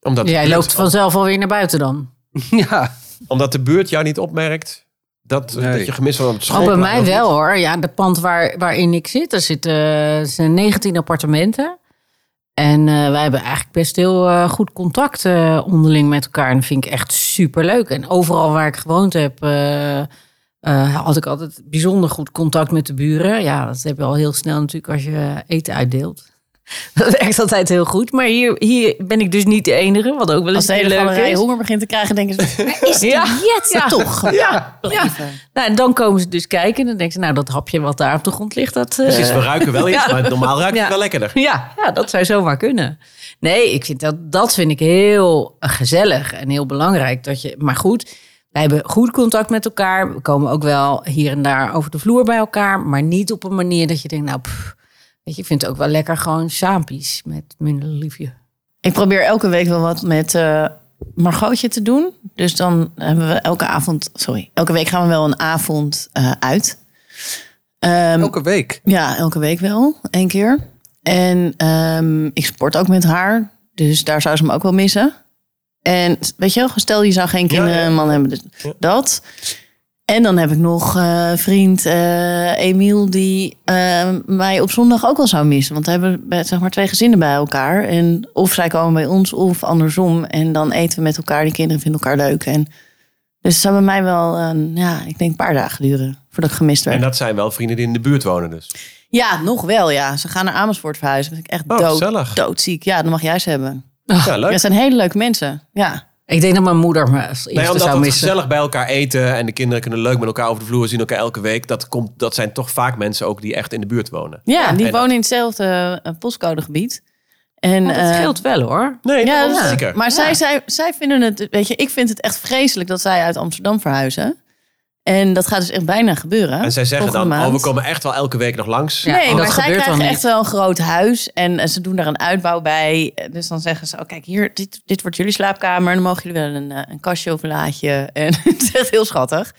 S2: Omdat de
S1: Jij
S2: buurt-
S1: loopt vanzelf alweer naar buiten dan.
S4: ja.
S2: Omdat de buurt jou niet opmerkt. Dat,
S4: Nee.
S2: dat je gemist wordt op het
S1: Oh,
S2: school.
S1: bij mij wel hoor. Ja, de pand waar, waarin ik zit, er zitten eh, zijn 19 appartementen. En eh, wij hebben eigenlijk best heel eh, goed contact eh, onderling met elkaar. En dat vind ik echt superleuk. En overal waar ik gewoond heb, eh, eh, had ik altijd bijzonder goed contact met de buren. Ja, dat heb je al heel snel natuurlijk als je eten uitdeelt. Dat werkt altijd heel goed. Maar hier, hier ben ik dus niet de enige, wat ook wel
S3: Als
S1: eens
S3: de
S1: heel
S3: hele
S1: leuk
S3: galerij
S1: is.
S3: honger begint te krijgen, denken ze... "Waar Is die
S1: Ja.
S3: jet
S1: Ja.
S3: toch?
S2: Ja,
S1: Ja. Nou, en dan komen ze dus kijken en dan denken ze, nou, dat hapje wat daar op de grond ligt, dat... eh,
S2: precies. Dus We ruiken wel iets,
S1: Ja.
S2: maar normaal ruikt
S1: Ja.
S2: het wel lekkerder.
S1: Ja, ja, dat zou zomaar kunnen. Nee, ik vind dat, dat vind ik heel gezellig en heel belangrijk. Dat je, maar goed, wij hebben goed contact met elkaar. We komen ook wel hier en daar over de vloer bij elkaar. Maar niet op een manier dat je denkt, nou, pff, weet je, ik vind het ook wel lekker gewoon saampies met mijn liefje.
S3: Ik probeer elke week wel wat met eh Margotje te doen. Dus dan hebben we elke avond... Sorry, elke week gaan we wel een avond eh, uit. Ehm,
S4: Elke week.
S3: Ja, elke week wel. één keer. En ehm, ik sport ook met haar. Dus daar zou ze me ook wel missen. En weet je wel, stel je zou geen kinderen
S2: ja.
S3: en man hebben. Dus
S2: Ja.
S3: dat. En dan heb ik nog eh, vriend eh, Emiel die eh, mij op zondag ook wel zou missen. Want we hebben eh, zeg maar twee gezinnen bij elkaar. En of zij komen bij ons of andersom. En dan eten we met elkaar. Die kinderen vinden elkaar leuk. En dus het zou bij mij wel, eh, ja, ik denk een paar dagen duren voordat ik gemist werd.
S2: En dat zijn wel vrienden die in de buurt wonen dus.
S3: Ja, nog wel, ja. Ze gaan naar Amersfoort verhuizen. Ben ik echt
S2: Oh,
S3: dood,
S2: gezellig.
S3: doodziek. Ja, dat mag jij ze hebben.
S1: Oh,
S2: Ja, leuk.
S3: Ja, het zijn hele leuke mensen. Ja.
S1: Ik denk dat mijn moeder me als eerste
S2: Nee, omdat
S1: zou
S2: dat
S1: missen.
S2: gezellig bij elkaar eten en de kinderen kunnen leuk met elkaar over de vloer zien elkaar elke week. Dat, komt, dat zijn toch vaak mensen ook die echt in de buurt wonen.
S3: Ja, die
S2: en-
S3: wonen in hetzelfde eh, postcodegebied. En,
S1: Maar
S3: eh,
S1: Oh, dat scheelt wel hoor.
S2: Nee,
S3: Ja,
S2: dat is
S3: ja.
S2: zeker.
S3: Maar zij, zij, zij vinden het, weet je, ik vind het echt vreselijk dat zij uit Amsterdam verhuizen. En dat gaat dus echt bijna gebeuren.
S2: En zij zeggen dan,
S3: volgende
S2: oh, we
S3: maand.
S2: komen echt wel elke week nog langs.
S1: Ja,
S3: nee,
S1: oh,
S3: maar
S1: dat
S3: zij
S1: gebeurt
S3: krijgen
S1: dan niet.
S3: echt wel een groot huis en eh, ze doen daar een uitbouw bij. Eh, Dus dan zeggen ze, oh kijk, hier, dit, dit wordt jullie slaapkamer. En dan mogen jullie wel een, eh, een kastje of een laadje. En het is echt heel schattig.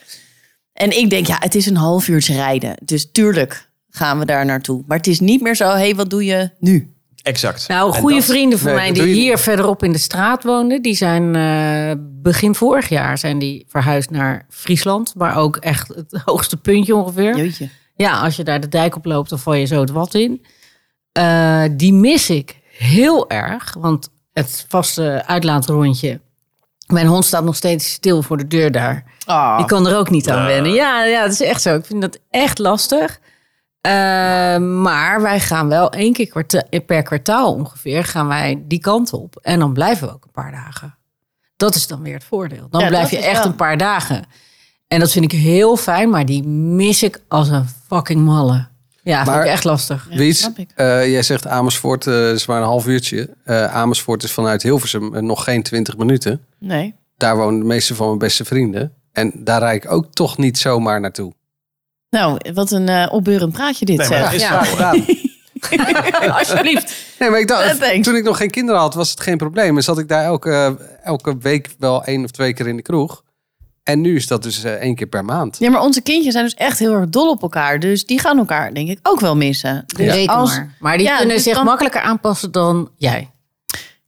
S3: En ik denk, ja, het is een half uurtje rijden. Dus tuurlijk gaan we daar naartoe. Maar het is niet meer zo, hé, hey, wat doe je nu?
S2: Exact.
S1: Nou,
S2: En
S1: goede
S2: dat-
S1: vrienden van
S4: nee,
S1: mij
S4: dat
S1: die
S4: doe je
S1: hier verderop in de straat woonden, die zijn eh, begin vorig jaar zijn die verhuisd naar Friesland, maar ook echt het hoogste puntje ongeveer.
S3: Jeetje.
S1: Ja, als je daar de dijk op loopt, dan val je zo het wat in. Eh, die mis ik heel erg, want het vaste uitlaatrondje. Mijn hond staat nog steeds stil voor de deur daar.
S3: Oh.
S1: Ik kan er ook niet aan
S2: Ja.
S1: wennen. Ja, ja, dat is echt zo. Ik vind dat echt lastig. Eh, maar wij gaan wel één keer kwarta- per kwartaal ongeveer gaan wij die kant op. En dan blijven we ook een paar dagen. Dat is dan weer het voordeel. Dan
S3: Ja,
S1: blijf
S3: dat
S1: je
S3: is
S1: echt
S3: wel.
S1: een paar dagen. En dat vind ik heel fijn, maar die mis ik als een fucking malle. Ja, vind
S4: Maar-
S1: ik echt lastig.
S3: Ja,
S4: Wies,
S3: snap ik.
S4: eh, jij zegt Amersfoort, eh, is maar een half uurtje. Eh, Amersfoort is vanuit Hilversum eh, nog geen 20 minuten.
S3: Nee.
S4: Daar wonen de meeste van mijn beste vrienden. En daar rijd ik ook toch niet zomaar naartoe.
S3: Nou, wat een eh, opbeurend praatje dit,
S2: Nee, maar
S3: zeg.
S2: dat is
S1: Ja.
S2: zo.
S4: Daarom.
S3: Alsjeblieft.
S4: Nou, Nee, maar ik dacht,
S3: Eh, thanks.
S4: toen ik nog geen kinderen had, was het geen probleem. En zat ik daar elke, eh, elke week wel één of twee keer in de kroeg. En nu is dat dus eh, één keer per maand.
S3: Ja, maar onze kindjes zijn dus echt heel erg dol op elkaar. Dus die gaan elkaar, denk ik, ook wel missen. Dus
S1: Reken
S3: als,
S1: maar. Maar die
S3: Ja,
S1: kunnen
S3: dus
S1: zich
S3: dan-
S1: makkelijker aanpassen dan jij.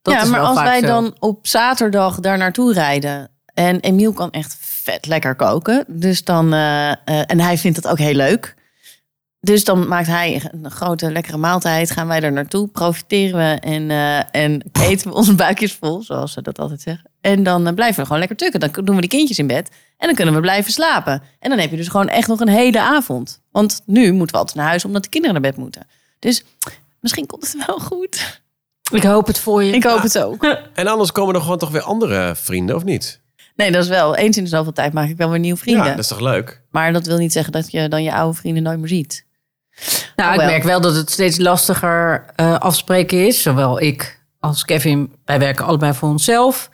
S1: Dat
S3: ja,
S1: is
S3: maar
S1: wel
S3: als
S1: vaak
S3: wij
S1: zo.
S3: dan op zaterdag daar naartoe rijden. En Emiel kan echt vet lekker koken. Dus dan, eh, eh, en hij vindt dat ook heel leuk. Dus dan maakt hij een grote lekkere maaltijd. Gaan wij er naartoe, profiteren we en, eh, en eten we onze buikjes vol, zoals ze dat altijd zeggen. En dan eh, blijven we gewoon lekker tukken. Dan doen we de kindjes in bed en dan kunnen we blijven slapen. En dan heb je dus gewoon echt nog een hele avond. Want nu moeten we altijd naar huis omdat de kinderen naar bed moeten. Dus misschien komt het wel goed.
S1: Ik hoop het voor je.
S3: Ik hoop het ook.
S2: En anders komen er gewoon toch weer andere vrienden, of niet?
S3: Nee, dat is wel. Eens in de zoveel tijd maak ik wel weer nieuwe vrienden.
S2: Ja, dat is toch leuk?
S3: Maar dat wil niet zeggen dat je dan je oude vrienden nooit meer ziet.
S1: Nou,
S3: Oh,
S1: ik
S3: wel.
S1: merk wel dat het steeds lastiger eh, afspreken is. Zowel ik als Kevin, wij werken allebei voor onszelf.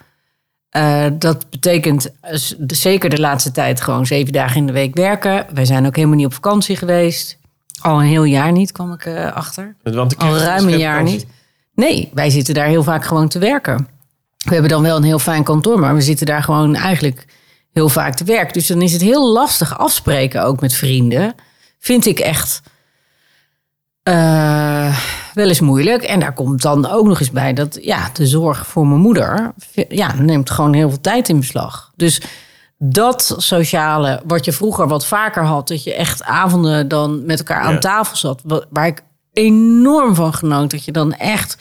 S1: Eh, dat betekent eh, z- de- zeker de laatste tijd gewoon zeven dagen in de week werken. Wij zijn ook helemaal niet op vakantie geweest. Al een heel jaar niet, kwam ik eh, achter.
S2: Want de
S1: Al
S2: kerst is
S1: ruim een
S2: geen
S1: jaar
S2: vakantie.
S1: niet. Nee, wij zitten daar heel vaak gewoon te werken. We hebben dan wel een heel fijn kantoor, maar we zitten daar gewoon eigenlijk heel vaak te werk. Dus dan is het heel lastig afspreken ook met vrienden. Vind ik echt eh, wel eens moeilijk. En daar komt dan ook nog eens bij dat ja, de zorg voor mijn moeder ja, neemt gewoon heel veel tijd in beslag. Dus dat sociale, wat je vroeger wat vaker had, dat je echt avonden dan met elkaar aan
S2: Ja.
S1: tafel zat, wa- waar ik enorm van genoot. Dat je dan echt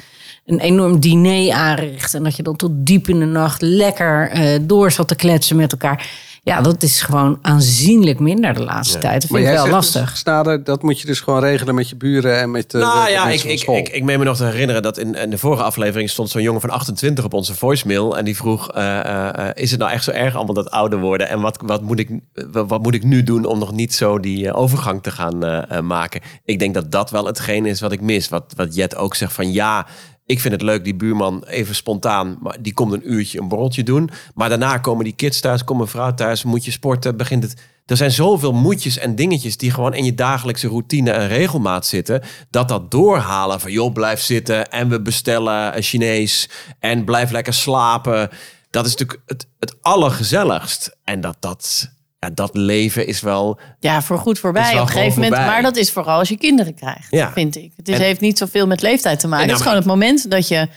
S1: een enorm diner aanricht en dat je dan tot diep in de nacht lekker eh, door zat te kletsen met elkaar. Ja, dat is gewoon aanzienlijk minder de laatste tijd. Dat vind ik wel
S4: zegt dus,
S1: lastig.
S4: Snader, dat moet je dus gewoon regelen met je buren en met de, de-
S2: Nou
S4: eh, de
S2: ja, ik,
S4: mensen van
S2: ik,
S4: school.
S2: ik, ik meen me nog te herinneren dat in, in de vorige aflevering stond zo'n jongen van 28 op onze voicemail. En die vroeg, eh, eh, eh, is het nou echt zo erg allemaal dat ouder worden? En wat, wat, moet, ik, eh, wat, wat moet ik nu doen om nog niet zo die eh, overgang te gaan eh, eh, maken? Ik denk dat dat wel hetgeen is wat ik mis. Wat, wat Jet ook zegt van ja, ik vind het leuk, die buurman even spontaan. Maar die komt een uurtje een borreltje doen. Maar daarna komen die kids thuis, komt mijn vrouw thuis, moet je sporten, begint het... Er zijn zoveel moetjes en dingetjes die gewoon in je dagelijkse routine en regelmaat zitten. Dat dat doorhalen van joh, blijf zitten en we bestellen eh, Chinees en blijf lekker slapen. Dat is natuurlijk het, het allergezelligst. En dat, dat, ja, dat leven is wel...
S3: Ja, voor goed
S2: Het
S3: voorbij
S2: is
S3: op
S2: wel
S3: een gegeven
S2: gewoon
S3: moment.
S2: voorbij.
S3: Maar dat is vooral als je kinderen krijgt,
S2: Ja.
S3: vind ik. Het is,
S2: En-
S3: heeft niet zoveel met leeftijd te maken.
S2: En
S3: het is
S2: nou,
S3: gewoon het moment dat je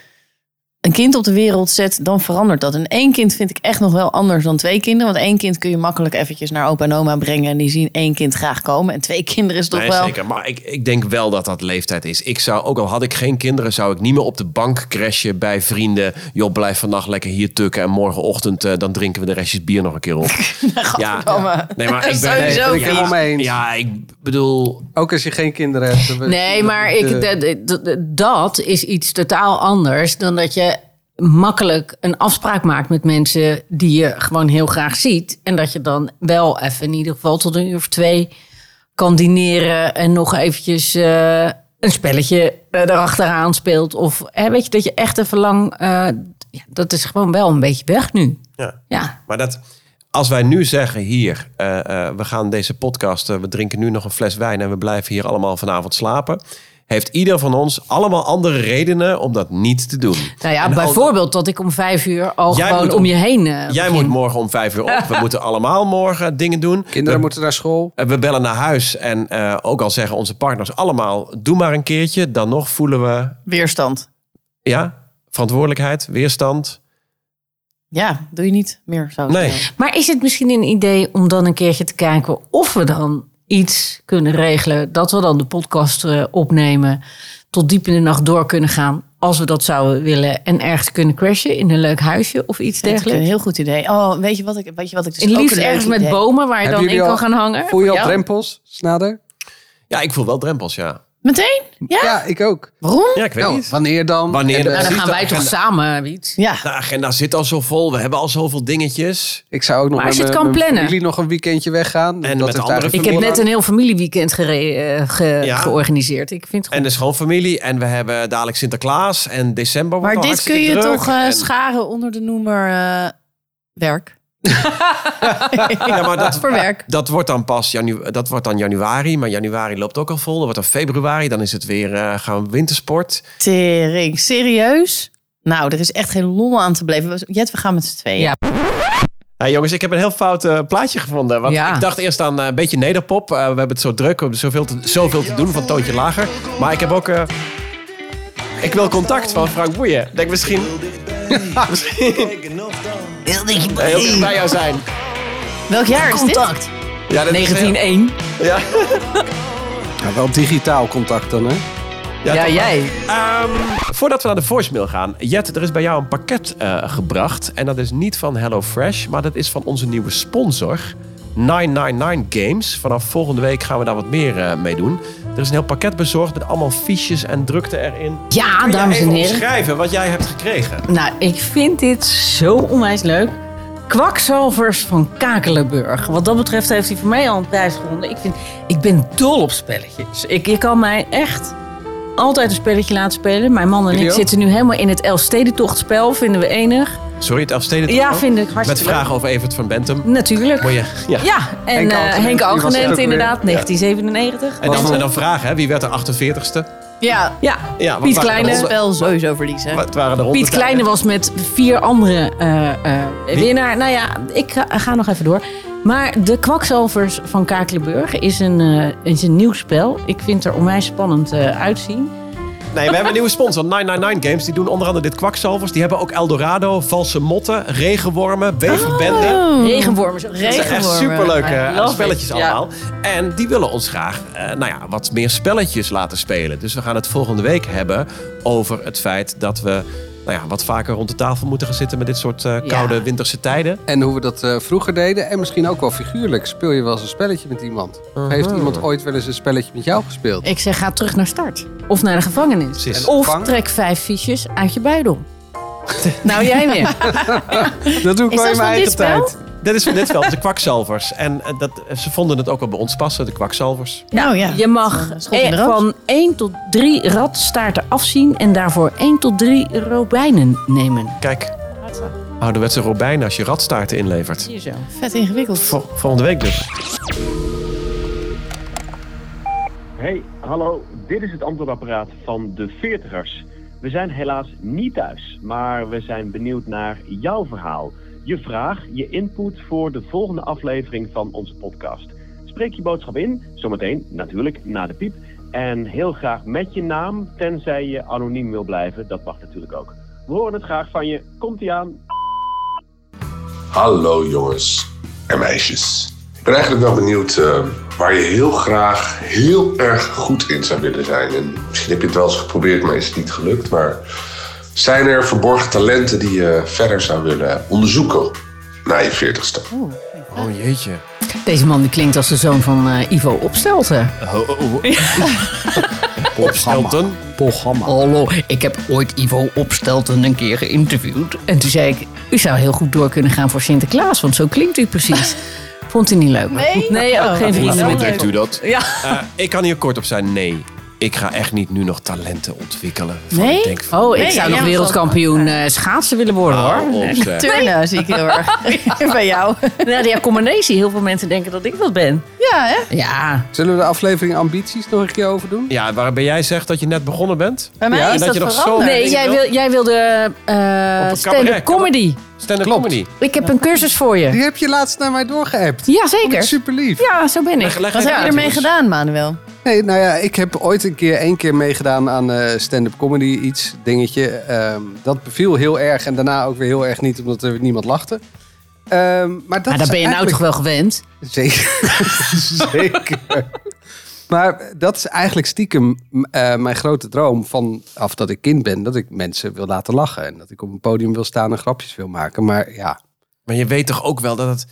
S3: een kind op de wereld zet, dan verandert dat. En één kind vind ik echt nog wel anders dan twee kinderen. Want één kind kun je makkelijk eventjes naar opa en oma brengen. En die zien één kind graag komen. En twee kinderen is toch
S2: Nee,
S3: wel...
S2: zeker. Maar ik, ik denk wel dat dat leeftijd is. Ik zou, ook al had ik geen kinderen, zou ik niet meer op de bank crashen bij vrienden. Joh, blijf vannacht lekker hier tukken en morgenochtend eh, dan drinken we de restjes bier nog een keer op.
S3: Gadverdamme.
S2: Nee, maar ik ben...
S4: Nee,
S3: Nou, Sowieso
S4: ben ik
S3: vies.
S4: helemaal mee eens.
S2: Ja, ik bedoel,
S4: Ook als je geen kinderen hebt.
S1: Nee, maar ik,
S4: De-
S1: dat- dat- dat is iets totaal anders dan dat je makkelijk een afspraak maakt met mensen die je gewoon heel graag ziet. En dat je dan wel even in ieder geval tot een uur of twee kan dineren en nog eventjes eh, een spelletje eh, erachteraan speelt. Of hè, weet je, dat je echt even lang... eh, ja, dat is gewoon wel een beetje weg nu.
S2: Ja.
S1: Ja,
S2: Maar dat, als wij nu zeggen hier, eh, eh, we gaan deze podcast, eh, we drinken nu nog een fles wijn en we blijven hier allemaal vanavond slapen. Heeft ieder van ons allemaal andere redenen om dat niet te doen?
S1: nou ja,
S2: En al-
S1: bijvoorbeeld dat ik om vijf uur al
S2: Jij
S1: gewoon
S2: moet
S1: om,
S2: om-
S1: je heen... eh,
S2: Jij
S1: begin.
S2: moet morgen om vijf uur op. We moeten allemaal morgen dingen doen.
S4: Kinderen
S2: we,
S4: moeten naar school.
S2: eh, we bellen naar huis. En eh, ook al zeggen onze partners allemaal, doe maar een keertje. Dan nog voelen we
S3: Weerstand.
S2: ja, verantwoordelijkheid, weerstand.
S3: Ja, doe je niet meer zo.
S2: Nee.
S1: Maar is het misschien een idee om dan een keertje te kijken of we dan iets kunnen regelen? Dat we dan de podcast eh, opnemen, tot diep in de nacht door kunnen gaan. Als we dat zouden willen en ergens kunnen crashen in een leuk huisje of iets
S3: Dat is een
S1: dergelijks.
S3: heel goed idee. Oh, weet je wat ik, weet je wat ik dus
S1: En
S3: ook
S1: liefst
S3: een leuk
S1: ergens met
S3: idee-
S1: bomen waar je
S4: Hebben
S1: dan in
S4: jullie
S1: kan
S4: al-
S1: gaan hangen.
S4: Voel je al
S3: Ja.
S4: drempels, Snader?
S2: Ja, ik voel wel drempels, ja.
S3: Meteen? Ja?
S4: ik ook.
S3: Waarom?
S2: Ja, ik weet
S4: Nou,
S2: niet.
S4: wanneer dan?
S2: Wanneer
S4: En,
S2: dan?
S4: eh,
S1: Nou, dan
S2: precies,
S1: gaan wij
S2: dat-
S1: toch samen iets.
S3: Ja.
S2: De agenda zit al zo vol. We hebben al zoveel dingetjes.
S4: ik zou ook nog
S1: Maar als
S4: met
S1: je het
S4: mijn-
S1: kan
S4: mijn
S1: plannen.
S4: familie nog een weekendje weggaan.
S2: En met
S4: heeft
S2: andere
S4: eigenlijk
S1: Ik heb
S4: niemand-
S1: net een heel familieweekend gere- eh, ge-
S2: Ja.
S1: georganiseerd. Ik vind het
S2: En
S1: goed.
S2: de schoonfamilie. En we hebben dadelijk Sinterklaas. En december wordt
S3: Maar
S2: al
S3: dit kun je
S2: hartstikke druk.
S3: toch eh,
S2: En-
S3: scharen onder de noemer eh, werk?
S2: Ja, maar dat,
S3: Voor werk.
S2: dat wordt dan pas janu dat wordt dan januari. Maar januari loopt ook al vol. Dan wordt dan februari. Dan is het weer eh, gaan we wintersport.
S3: Tering, serieus? Nou, er is echt geen lol aan te blijven. Jet, we gaan met z'n tweeën.
S1: Ja.
S2: Hey, jongens, ik heb een heel fout eh, plaatje gevonden. Want
S1: Ja.
S2: ik dacht eerst aan eh, een beetje nederpop. Eh, we hebben het zo druk. We hebben zoveel te, zoveel te doen van Toontje Lager. Maar ik heb ook... eh, ik wil contact van Frank Boeien. Denk misschien... misschien... Heel dicht bij jou zijn.
S3: Welk jaar is dit?
S1: Contact.
S2: Ja, dat is heel-
S1: 1901.
S2: Ja,
S4: Ja, wel digitaal contact dan, hè?
S2: ja,
S1: Ja,
S2: toch?
S1: jij.
S2: Ehm, voordat we naar de voicemail gaan. Jet, er is bij jou een pakket eh, gebracht. En dat is niet van HelloFresh, maar dat is van onze nieuwe sponsor. 999 Games. Vanaf volgende week gaan we daar wat meer eh, mee doen. Er is een heel pakket bezorgd met allemaal fiches en drukte erin.
S1: Ja, Ah, dames en
S2: Even
S1: heren.
S2: omschrijven wat jij hebt gekregen.
S1: Nou, ik vind dit zo onwijs leuk. Kwakzalvers van Kakelenburg. Wat dat betreft heeft hij voor mij al een prijs gewonnen. Ik, vind, ik ben dol op spelletjes. Ik, ik kan mij echt altijd een spelletje laten spelen. Mijn man en
S4: Jullie
S1: ik
S4: ook?
S1: zitten nu helemaal in het Elfstedentochtspel. Vinden we enig.
S2: Sorry, het afsteden.
S1: Ja, vind ik
S2: Met
S1: hartstikke leuk.
S2: vragen over Evert van Bentum.
S1: Natuurlijk.
S2: Moet je, ja.
S1: Ja, en
S4: Henk
S1: eh,
S4: Algeneem,
S1: Henk
S4: die was er ook
S1: Algeneem
S4: weer.
S1: inderdaad, 1997.
S2: En, dan,
S4: Waarom?
S2: en dan vragen, hè? wie werd de 48ste?
S3: Ja,
S1: Ja,
S2: Ja, wat
S1: Piet
S2: waren
S1: Kleine.
S2: de
S3: het
S2: ronde-
S3: spel sowieso verliezen.
S2: Wat waren de
S1: Piet
S2: rondetijden?
S1: Kleine was met vier andere eh, eh, winnaar. Nou ja, ik ga, ga nog even door. Maar De Kwakzalvers van Kakelenburg is een, eh, is een nieuw spel. Ik vind er onwijs spannend eh, uitzien.
S2: Nee, we hebben een nieuwe sponsor, 999 Games. Die doen onder andere dit kwakzalvers. Die hebben ook Eldorado, valse motten, regenwormen, wegenbenden.
S1: Oh, Mhm. Regenwormen. zo-
S2: Dat zijn echt
S3: regenwormen.
S2: superleuke
S1: I
S2: eh,
S1: love
S2: spelletjes
S1: it, ja.
S2: allemaal. En die willen ons graag eh, nou ja, wat meer spelletjes laten spelen. Dus we gaan het volgende week hebben over het feit dat we nou ja, wat vaker rond de tafel moeten gaan zitten met dit soort eh, koude winterse tijden.
S4: En hoe we dat eh, vroeger deden. En misschien ook wel figuurlijk. Speel je wel eens een spelletje met iemand? Of Heeft iemand ooit wel eens een spelletje met jou gespeeld?
S1: Ik zeg, ga terug naar start. Of naar de gevangenis.
S2: Precies.
S1: Of
S4: Vang-
S1: trek vijf fiches uit je buidel. nou, jij weer.
S4: Dat doe ik
S3: Is
S4: wel in
S3: dat van
S4: mijn
S3: dit
S4: eigen
S3: spel?
S4: tijd.
S2: Dit is van dit wel, de kwakzalvers. En eh, dat, ze vonden het ook wel bij ons passen, de kwakzalvers.
S3: Nou ja.
S1: Je mag
S3: Dat is een schot in de
S1: eh,
S3: roos.
S1: van 1 tot 3 ratstaarten afzien en daarvoor 1 tot 3 robijnen nemen.
S2: Kijk, ouderwetse robijn als je radstaarten inlevert.
S1: Zie je zo.
S3: Vet ingewikkeld.
S2: Vol- volgende week dus.
S6: Hey, hallo. Dit is het antwoordapparaat van de Veertigers. We zijn helaas niet thuis, maar we zijn benieuwd naar jouw verhaal. Je vraag, je input voor de volgende aflevering van onze podcast. Spreek je boodschap in, zometeen natuurlijk na de piep. En heel graag met je naam, tenzij je anoniem wil blijven. Dat mag natuurlijk ook. We horen het graag van je. Komt-ie aan.
S7: Hallo jongens en meisjes. Ik ben eigenlijk wel benieuwd eh, waar je heel graag heel erg goed in zou willen zijn. En misschien heb je het wel eens geprobeerd, maar is het niet gelukt. Maar zijn er verborgen talenten die je verder zou willen onderzoeken na je veertigste?
S2: Oh jeetje.
S1: Deze man die klinkt als de zoon van eh, Ivo Opstelten.
S2: Opstelten.
S1: Hallo, ik heb ooit Ivo Opstelten een keer geïnterviewd. En toen zei ik, u zou heel goed door kunnen gaan voor Sinterklaas, want zo klinkt u precies. Vond hij niet leuk. oh,
S3: Nee?
S5: Nee, ook geen
S2: Hoe
S5: vrienden.
S2: vindt
S5: meer.
S2: u dat?
S5: Ja.
S2: Eh, ik kan hier kort op zijn. Nee, ik ga echt niet nu nog talenten ontwikkelen. Van,
S3: Nee?
S2: Ik denk van,
S1: Oh, ik
S3: Nee,
S1: zou
S3: ja,
S1: nog
S3: ja,
S1: wereldkampioen eh, schaatsen willen worden
S2: hou
S1: hoor.
S2: op, zeg.
S3: Turnen zie ik heel erg. Bij jou.
S1: Oh.
S5: Ja,
S1: Nou
S5: die combinatie. Heel veel mensen denken dat ik dat ben.
S3: Ja, hè?
S1: Ja,
S4: Zullen we de aflevering ambities nog een keer over doen?
S2: Ja, waarbij jij zegt dat je net begonnen bent.
S3: Bij mij
S4: Ja,
S3: is
S2: dat
S3: dat,
S2: je nog zo-
S3: veranderd.
S1: nee, jij, wil, jij wilde eh,
S2: Op een
S1: stand-up
S2: cabaret,
S1: comedy.
S2: Stand-up
S4: Klopt.
S2: comedy.
S1: Ik heb een cursus voor
S4: Die
S1: je.
S4: heb je laatst naar mij doorgeappt.
S1: Jazeker.
S4: Super lief.
S1: Ja, zo ben ik.
S2: Leg
S3: Wat
S2: even
S3: heb je
S2: uit,
S3: ermee
S2: jongens.
S3: gedaan, Manuel?
S4: Nee, nou ja, ik heb ooit een keer één keer meegedaan aan eh, stand-up comedy iets, dingetje. Ehm, dat beviel heel erg en daarna ook weer heel erg niet, omdat er niemand lachte. Ehm, maar dat
S1: Maar daar
S4: is
S1: ben je nou toch wel gewend?
S4: Zeker. Zeker. Maar dat is eigenlijk stiekem eh, mijn grote droom vanaf dat ik kind ben. Dat ik mensen wil laten lachen. En dat ik op een podium wil staan en grapjes wil maken. Maar ja.
S2: Maar je weet toch ook wel dat het...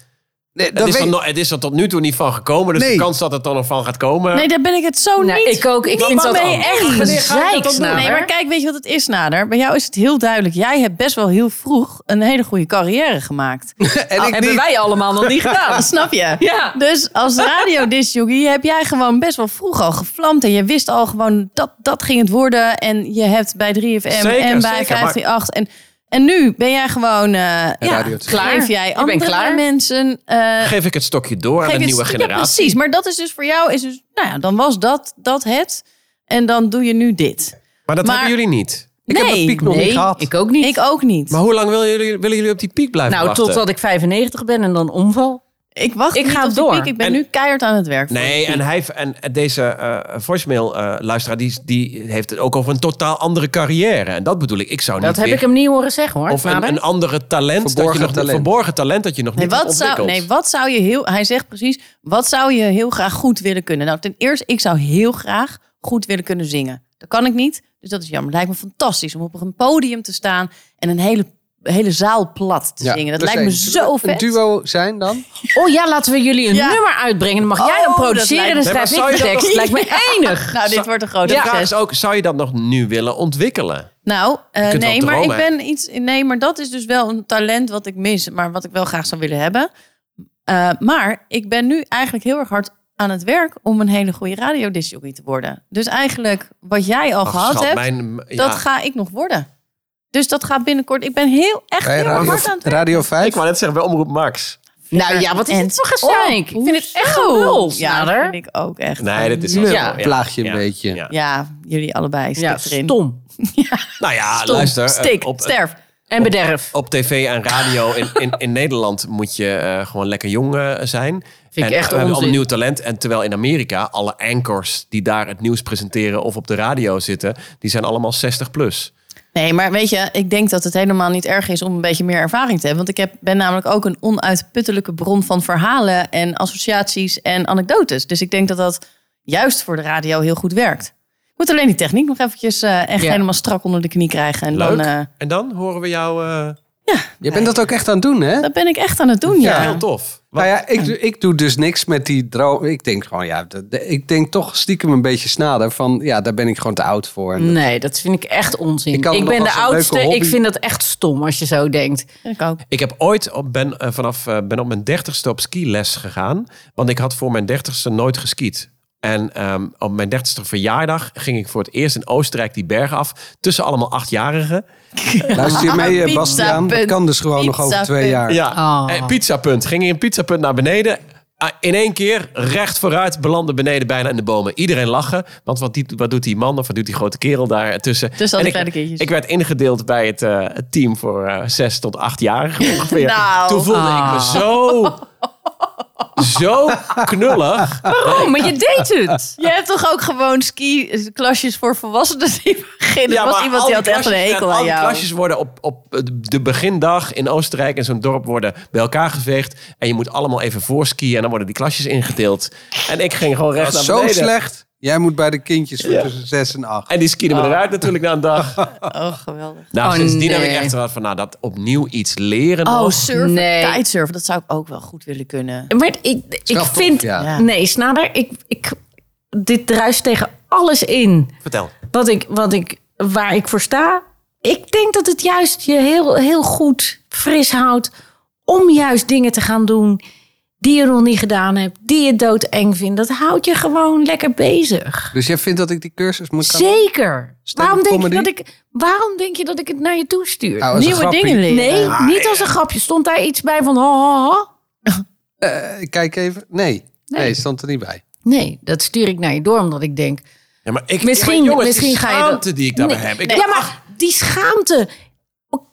S4: Nee,
S2: Het is,
S4: weet-
S2: er nog- het is er tot nu toe niet van gekomen. Dus
S4: Nee.
S2: de kans dat het er nog van gaat komen...
S3: Nee, daar ben ik het zo
S1: Nou,
S3: niet.
S1: ik ook. Ik vind dat
S3: ben je
S1: ook
S3: echt?
S1: een
S3: Wanneer
S2: ga je
S1: zeik,
S2: dat dan doen?
S1: Snader.
S3: Nee, maar kijk, weet je wat het is, Nader? Bij jou is het heel duidelijk. Jij hebt best wel heel vroeg een hele goede carrière gemaakt.
S4: en ik
S5: Hebben
S4: niet.
S5: wij allemaal nog niet gedaan.
S3: Dat snap je?
S5: Ja.
S3: Dus als radiodisjockey heb jij gewoon best wel vroeg al gevlamd. En je wist al gewoon dat dat ging het worden. En je hebt bij 3FM
S2: Zeker,
S3: en bij
S2: zeker, maar-
S3: 538. En, en nu ben jij gewoon... eh, ja,
S4: Radio 2.
S3: klaar. Geef jij
S5: bent
S3: andere
S5: klaar.
S3: mensen... eh,
S2: Geef ik het stokje door aan
S3: geef
S2: de
S3: het-
S2: nieuwe
S3: Ja,
S2: generatie.
S3: precies. Maar dat is dus voor jou... Is dus, nou ja, dan was dat, dat het. En dan doe je nu dit.
S2: Maar dat
S3: Maar-
S2: hebben jullie niet.
S4: Ik heb dat piek nog
S1: Nee,
S4: niet gehad.
S1: ik ook niet.
S3: Ik ook niet.
S2: Maar hoe lang willen jullie, willen jullie op die piek blijven
S1: nou,
S2: wachten?
S1: totdat ik 95 ben en dan omval.
S3: Ik wacht
S1: Ik
S3: niet
S1: ga
S3: op die
S1: door.
S3: piek. Ik ben
S2: En-
S3: nu keihard aan het werk. voor die
S2: Nee,
S3: piek.
S2: en, hij, en deze eh voicemail-luisteraar die, die heeft het ook over een totaal andere carrière. En dat bedoel ik. Ik zou niet
S1: Dat heb
S2: weer-
S1: ik hem niet horen zeggen hoor.
S2: Of een,
S1: vader.
S2: een andere talent, dat je
S4: Verborgen
S2: nog,
S4: talent.
S2: verborgen talent dat je nog
S3: Nee,
S2: niet hebt
S3: wat zou,
S2: ontwikkeld.
S3: nee, wat zou je heel... Hij zegt precies, wat zou je heel graag goed willen kunnen? Nou, ten eerste, ik zou heel graag goed willen kunnen zingen. Dat kan ik niet, dus dat is jammer. Lijkt me fantastisch om op een podium te staan... en een hele, hele zaal plat te
S4: Ja,
S3: zingen. Dat
S4: dus
S3: lijkt me
S4: een-
S3: zo
S4: Een
S3: vet.
S4: duo zijn dan?
S1: Oh ja, laten we jullie een
S3: Ja.
S1: nummer uitbrengen. Dan mag jij
S3: Oh,
S1: hem
S3: dat
S1: produceren en dan
S3: lijkt
S2: me-
S1: schrijf
S2: Nee, maar
S1: ik de
S2: zou je dat-
S1: tekst. Lijkt me enig.
S3: Nou, dit wordt een grote
S2: De
S3: ja.
S2: vraag is ook, zou je dat nog nu willen ontwikkelen?
S3: Nou, eh,
S2: kunt
S3: nee,
S2: wel
S3: maar ik
S2: dromen,
S3: ben iets. Nee, maar dat is dus wel een talent wat ik mis, maar wat ik wel graag zou willen hebben. Eh, maar ik ben nu eigenlijk heel erg hard aan het werk om een hele goede radiodisjockey te worden. Dus eigenlijk wat jij al
S2: Ach,
S3: gehad
S2: schat,
S3: hebt,
S2: mijn- m- ja.
S3: dat ga ik nog worden. Dus dat gaat binnenkort. Ik ben heel echt
S4: Bij
S3: heel erg
S4: Radio,
S3: hard aan het werk.
S4: Radio 5?
S2: Ik wou net zeggen, bij Omroep Max.
S1: Nou ja, wat is
S3: En-
S1: het toch
S3: Oh,
S1: gezeik. ik vind het echt
S3: hoezo?
S1: gelul,
S3: Ja,
S1: Snader.
S3: dat vind ik ook echt.
S2: Nee, dat is wel
S4: Leuk.
S2: zo,
S1: Ja.
S4: Plaag je een beetje.
S2: ja.
S3: Ja, jullie allebei
S1: Ja,
S3: stik erin.
S1: stom.
S2: Nou ja,
S3: Stom,
S2: luister. eh,
S3: stik,
S2: op, eh,
S3: sterf.
S1: En bederf.
S2: op tv en radio in, in, in Nederland moet je eh, gewoon lekker jong eh, zijn.
S1: Vind ik
S2: en,
S1: echt
S2: we hebben
S1: onzin.
S2: allemaal nieuw talent. En terwijl in Amerika alle anchors die daar het nieuws presenteren of op de radio zitten, die zijn allemaal 60 plus.
S3: Nee, maar weet je, ik denk dat het helemaal niet erg is om een beetje meer ervaring te hebben. Want ik heb, ben namelijk ook een onuitputtelijke bron van verhalen en associaties en anekdotes. Dus ik denk dat dat juist voor de radio heel goed werkt. Ik moet alleen die techniek nog eventjes eh, echt
S1: Ja.
S3: helemaal strak onder de knie krijgen. En
S2: Leuk.
S3: dan, eh,
S2: En dan horen we jou eh,
S4: Je bent dat ook echt aan het doen, hè?
S3: dat ben ik echt aan het doen, ja.
S2: heel tof. Wat-
S4: Nou ja, ik, doe- ik doe dus niks met die droom. Ik denk gewoon, ja, dat- dat- ik denk toch stiekem een beetje snader van, ja, daar ben ik gewoon te oud voor. En
S1: Nee, dat vind ik echt onzin.
S4: Ik
S1: Ik,
S4: kan nog
S1: ben
S4: als
S1: de
S4: een leuke
S1: oudste. Ik
S4: hobby-
S1: vind dat echt stom als je zo denkt.
S3: Ik ook.
S2: Ik heb ooit op, ben, eh, vanaf eh, ben op mijn dertigste op skiles gegaan. Want ik had voor mijn dertigste nooit geskiet. En ehm, op mijn dertigste verjaardag ging ik voor het eerst in Oostenrijk die bergen af. Tussen allemaal achtjarigen.
S4: Luister je mee, eh,
S3: Pizza
S4: Bastiaan? Dat
S3: punt.
S4: kan dus gewoon nog over
S3: Pizza
S4: twee
S3: punt.
S4: jaar.
S2: Ja,
S1: Oh.
S2: en pizzapunt. Ging in pizzapunt naar beneden. Ah, In één keer recht vooruit belanden beneden bijna in de bomen. Iedereen lachen, want wat, die, wat doet die man of wat doet die grote kerel daar tussen?
S3: Tussen al
S2: En ik,
S3: die kleine kindjes.
S2: Ik werd ingedeeld bij het eh, het team voor eh, zes tot achtjarigen ongeveer.
S3: Nou.
S2: Toen voelde ik me zo, zo knullig.
S5: Oh, maar je deed het.
S3: Je hebt toch ook gewoon ski-klasjes voor volwassenen die beginnen? Er was iemand
S2: al
S3: die
S2: die
S3: had echt een
S2: klasjes-
S3: hekel
S2: en
S3: aan
S2: al die
S3: jou.
S2: klasjes worden op, op de begindag in Oostenrijk in zo'n dorp worden bij elkaar geveegd. En je moet allemaal even voorskiën en dan worden die klasjes ingedeeld. En ik ging gewoon recht
S4: Dat is
S2: naar
S4: zo
S2: beneden.
S4: slecht. Jij moet bij de kindjes voor
S2: Ja.
S4: tussen 6 en 8.
S2: En die skieden
S4: Oh.
S2: me eruit natuurlijk na een dag.
S3: Oh, geweldig.
S2: Nou,
S1: Oh,
S2: sindsdien heb
S1: nee.
S2: ik echt wat van, nou, dat opnieuw iets leren
S3: Oh,
S2: nog.
S3: surfen,
S1: nee.
S3: kitesurfen, dat zou ik ook wel goed willen kunnen.
S1: Maar ik, ik
S4: Straf op,
S1: vind...
S4: ja.
S3: Ja.
S1: Nee, Snader, ik, ik, dit druist tegen alles in.
S2: Vertel.
S1: wat ik, wat ik, waar ik voor sta. Ik denk dat het juist je heel, heel goed fris houdt om juist dingen te gaan doen die je nog niet gedaan hebt, die je doodeng vindt. Dat houdt je gewoon lekker bezig.
S4: Dus jij vindt dat ik die cursus moet gaan
S1: Zeker.
S4: Stand-up
S1: Waarom denk, je
S4: comedy?
S1: dat ik, waarom denk je dat ik het naar je toe stuur?
S4: Nou, als een
S3: Nieuwe
S4: grappie.
S3: dingen leren.
S1: nee, niet als een grapje. Stond daar iets bij van ha, ha, ha?
S4: Eh, ik kijk even. Nee. nee, stond er niet bij.
S1: Nee, dat stuur ik naar je door omdat ik denk...
S2: Ja, maar ik,
S1: Misschien-
S2: ja, maar jongens, die
S1: misschien ga je dat-
S2: schaamte die ik daarbij
S1: Nee,
S2: heb. Ik,
S1: nee.
S2: heb
S1: ja,
S2: acht-
S1: maar die schaamte.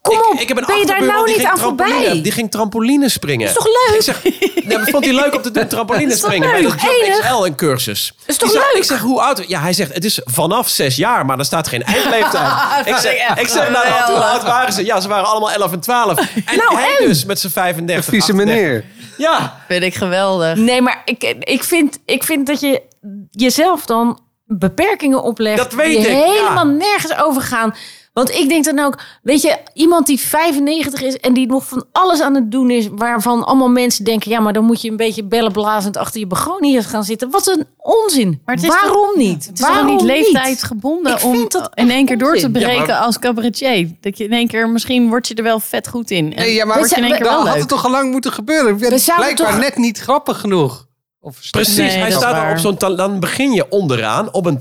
S1: Kom op,
S2: ik, ik heb een
S1: ben je daar
S2: achterbuurman
S1: nou
S2: die
S1: niet
S2: ging
S1: aan
S2: trampoline-
S1: voorbij?
S2: Die ging trampoline springen.
S1: is toch leuk?
S2: Ik zeg, nee, maar vond hij leuk om te doen, trampoline
S1: toch
S2: springen. Bij
S1: leuk?
S2: de Jump
S1: Enig?
S2: XL een cursus.
S1: Is toch
S2: Ik zeg-
S1: leuk?
S2: Ik zeg, hoe oud? Ja, hij zegt, het is vanaf zes jaar, maar daar staat geen eindleeftijd. ik zeg, ik zeg nou, hoe oud waren ze? Ja, ze waren allemaal 11 en 12. En
S1: Nou,
S2: hij dus met zijn 35.
S4: Vieze
S2: 38.
S4: meneer.
S2: Ja,
S3: Vind ik geweldig.
S1: Nee, maar ik, ik, vind, ik vind dat je jezelf dan beperkingen oplegt.
S2: Dat weet
S1: die
S2: ik, ja.
S1: helemaal nergens over gaan. Want ik denk dan ook, weet je, iemand die 95 is en die nog van alles aan het doen is, waarvan allemaal mensen denken, ja, maar dan moet je een beetje bellenblazend achter je begoniers gaan zitten. Wat een onzin.
S3: Maar het is
S1: Waarom
S3: toch-
S1: niet?
S3: Het is toch
S1: Waarom
S3: niet
S1: Ik
S3: leeftijdsgebonden om
S1: vind dat
S3: in één keer
S1: echt
S3: door te
S1: onzin.
S3: breken
S2: Ja, maar-
S3: als cabaretier. Dat je in één keer, misschien word je er wel vet goed in. En
S4: Nee, ja, maar
S3: word je in één keer
S4: dan
S3: wel
S4: had
S3: leuk.
S4: het toch al lang moeten gebeuren. Het is
S1: zouden
S4: blijkbaar
S1: toch-
S4: net niet grappig genoeg. Of
S2: precies.
S3: Nee,
S2: hij
S3: dat is
S2: staat
S3: waar.
S2: er op zo'n ta- Dan begin je onderaan op een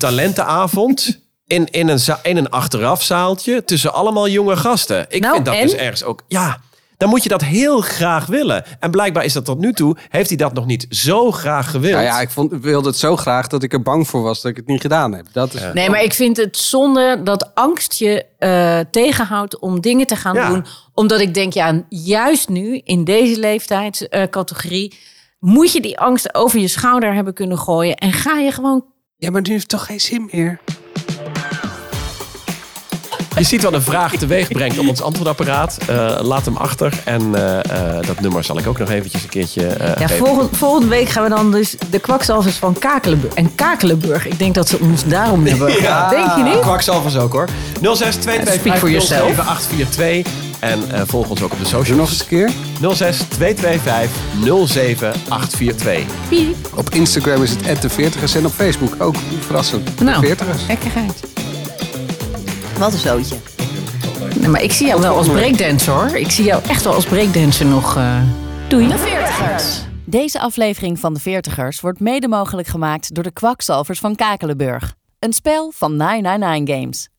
S2: talentenavond... In, in, een, za- in een achterafzaaltje tussen allemaal jonge gasten. Ik
S1: Nou,
S2: vind dat
S1: en?
S2: dus ergens ook... Ja, dan moet je dat heel graag willen. En blijkbaar is dat tot nu toe... heeft hij dat nog niet zo graag gewild.
S4: Nou ja, ik vond, wilde het zo graag dat ik er bang voor was dat ik het niet gedaan heb. Dat is
S1: Nee, maar ik vind het zonde dat angst je eh, tegenhoudt om dingen te gaan
S2: Ja.
S1: doen. Omdat ik denk, ja, juist nu in deze leeftijdscategorie moet je die angst over je schouder hebben kunnen gooien. En ga je gewoon.
S4: Ja, maar nu heeft het toch geen zin meer.
S2: Je ziet wat een vraag teweeg brengt op ons antwoordapparaat. Eh, laat hem achter. En eh, eh, dat nummer zal ik ook nog eventjes een keertje eh
S1: Ja,
S2: geven.
S1: volgende, volgende week gaan we dan dus de kwakzalvers van Kakelenburg. En Kakelenburg, ik denk dat ze ons daarom hebben. Denk je niet?
S2: Kwakzalvers ook hoor. 06
S1: Speak for yourself.
S2: 842 En eh, volg ons ook op de
S4: Doe nog
S2: socials.
S4: eens een keer.
S2: 06 225 07842.
S4: Op Instagram is het de 40ers en op Facebook ook. Verrassend.
S1: Nou.
S4: De 40ers.
S1: Gekkigheid.
S3: Wat een zootje.
S1: Nee, maar ik zie jou wel als breakdancer hoor. Ik zie jou echt wel als breakdancer nog. eh Doei.
S3: De Veertigers. Deze aflevering van De Veertigers wordt mede mogelijk gemaakt door de kwakzalvers van Kakelenburg. Een spel van 999 Games.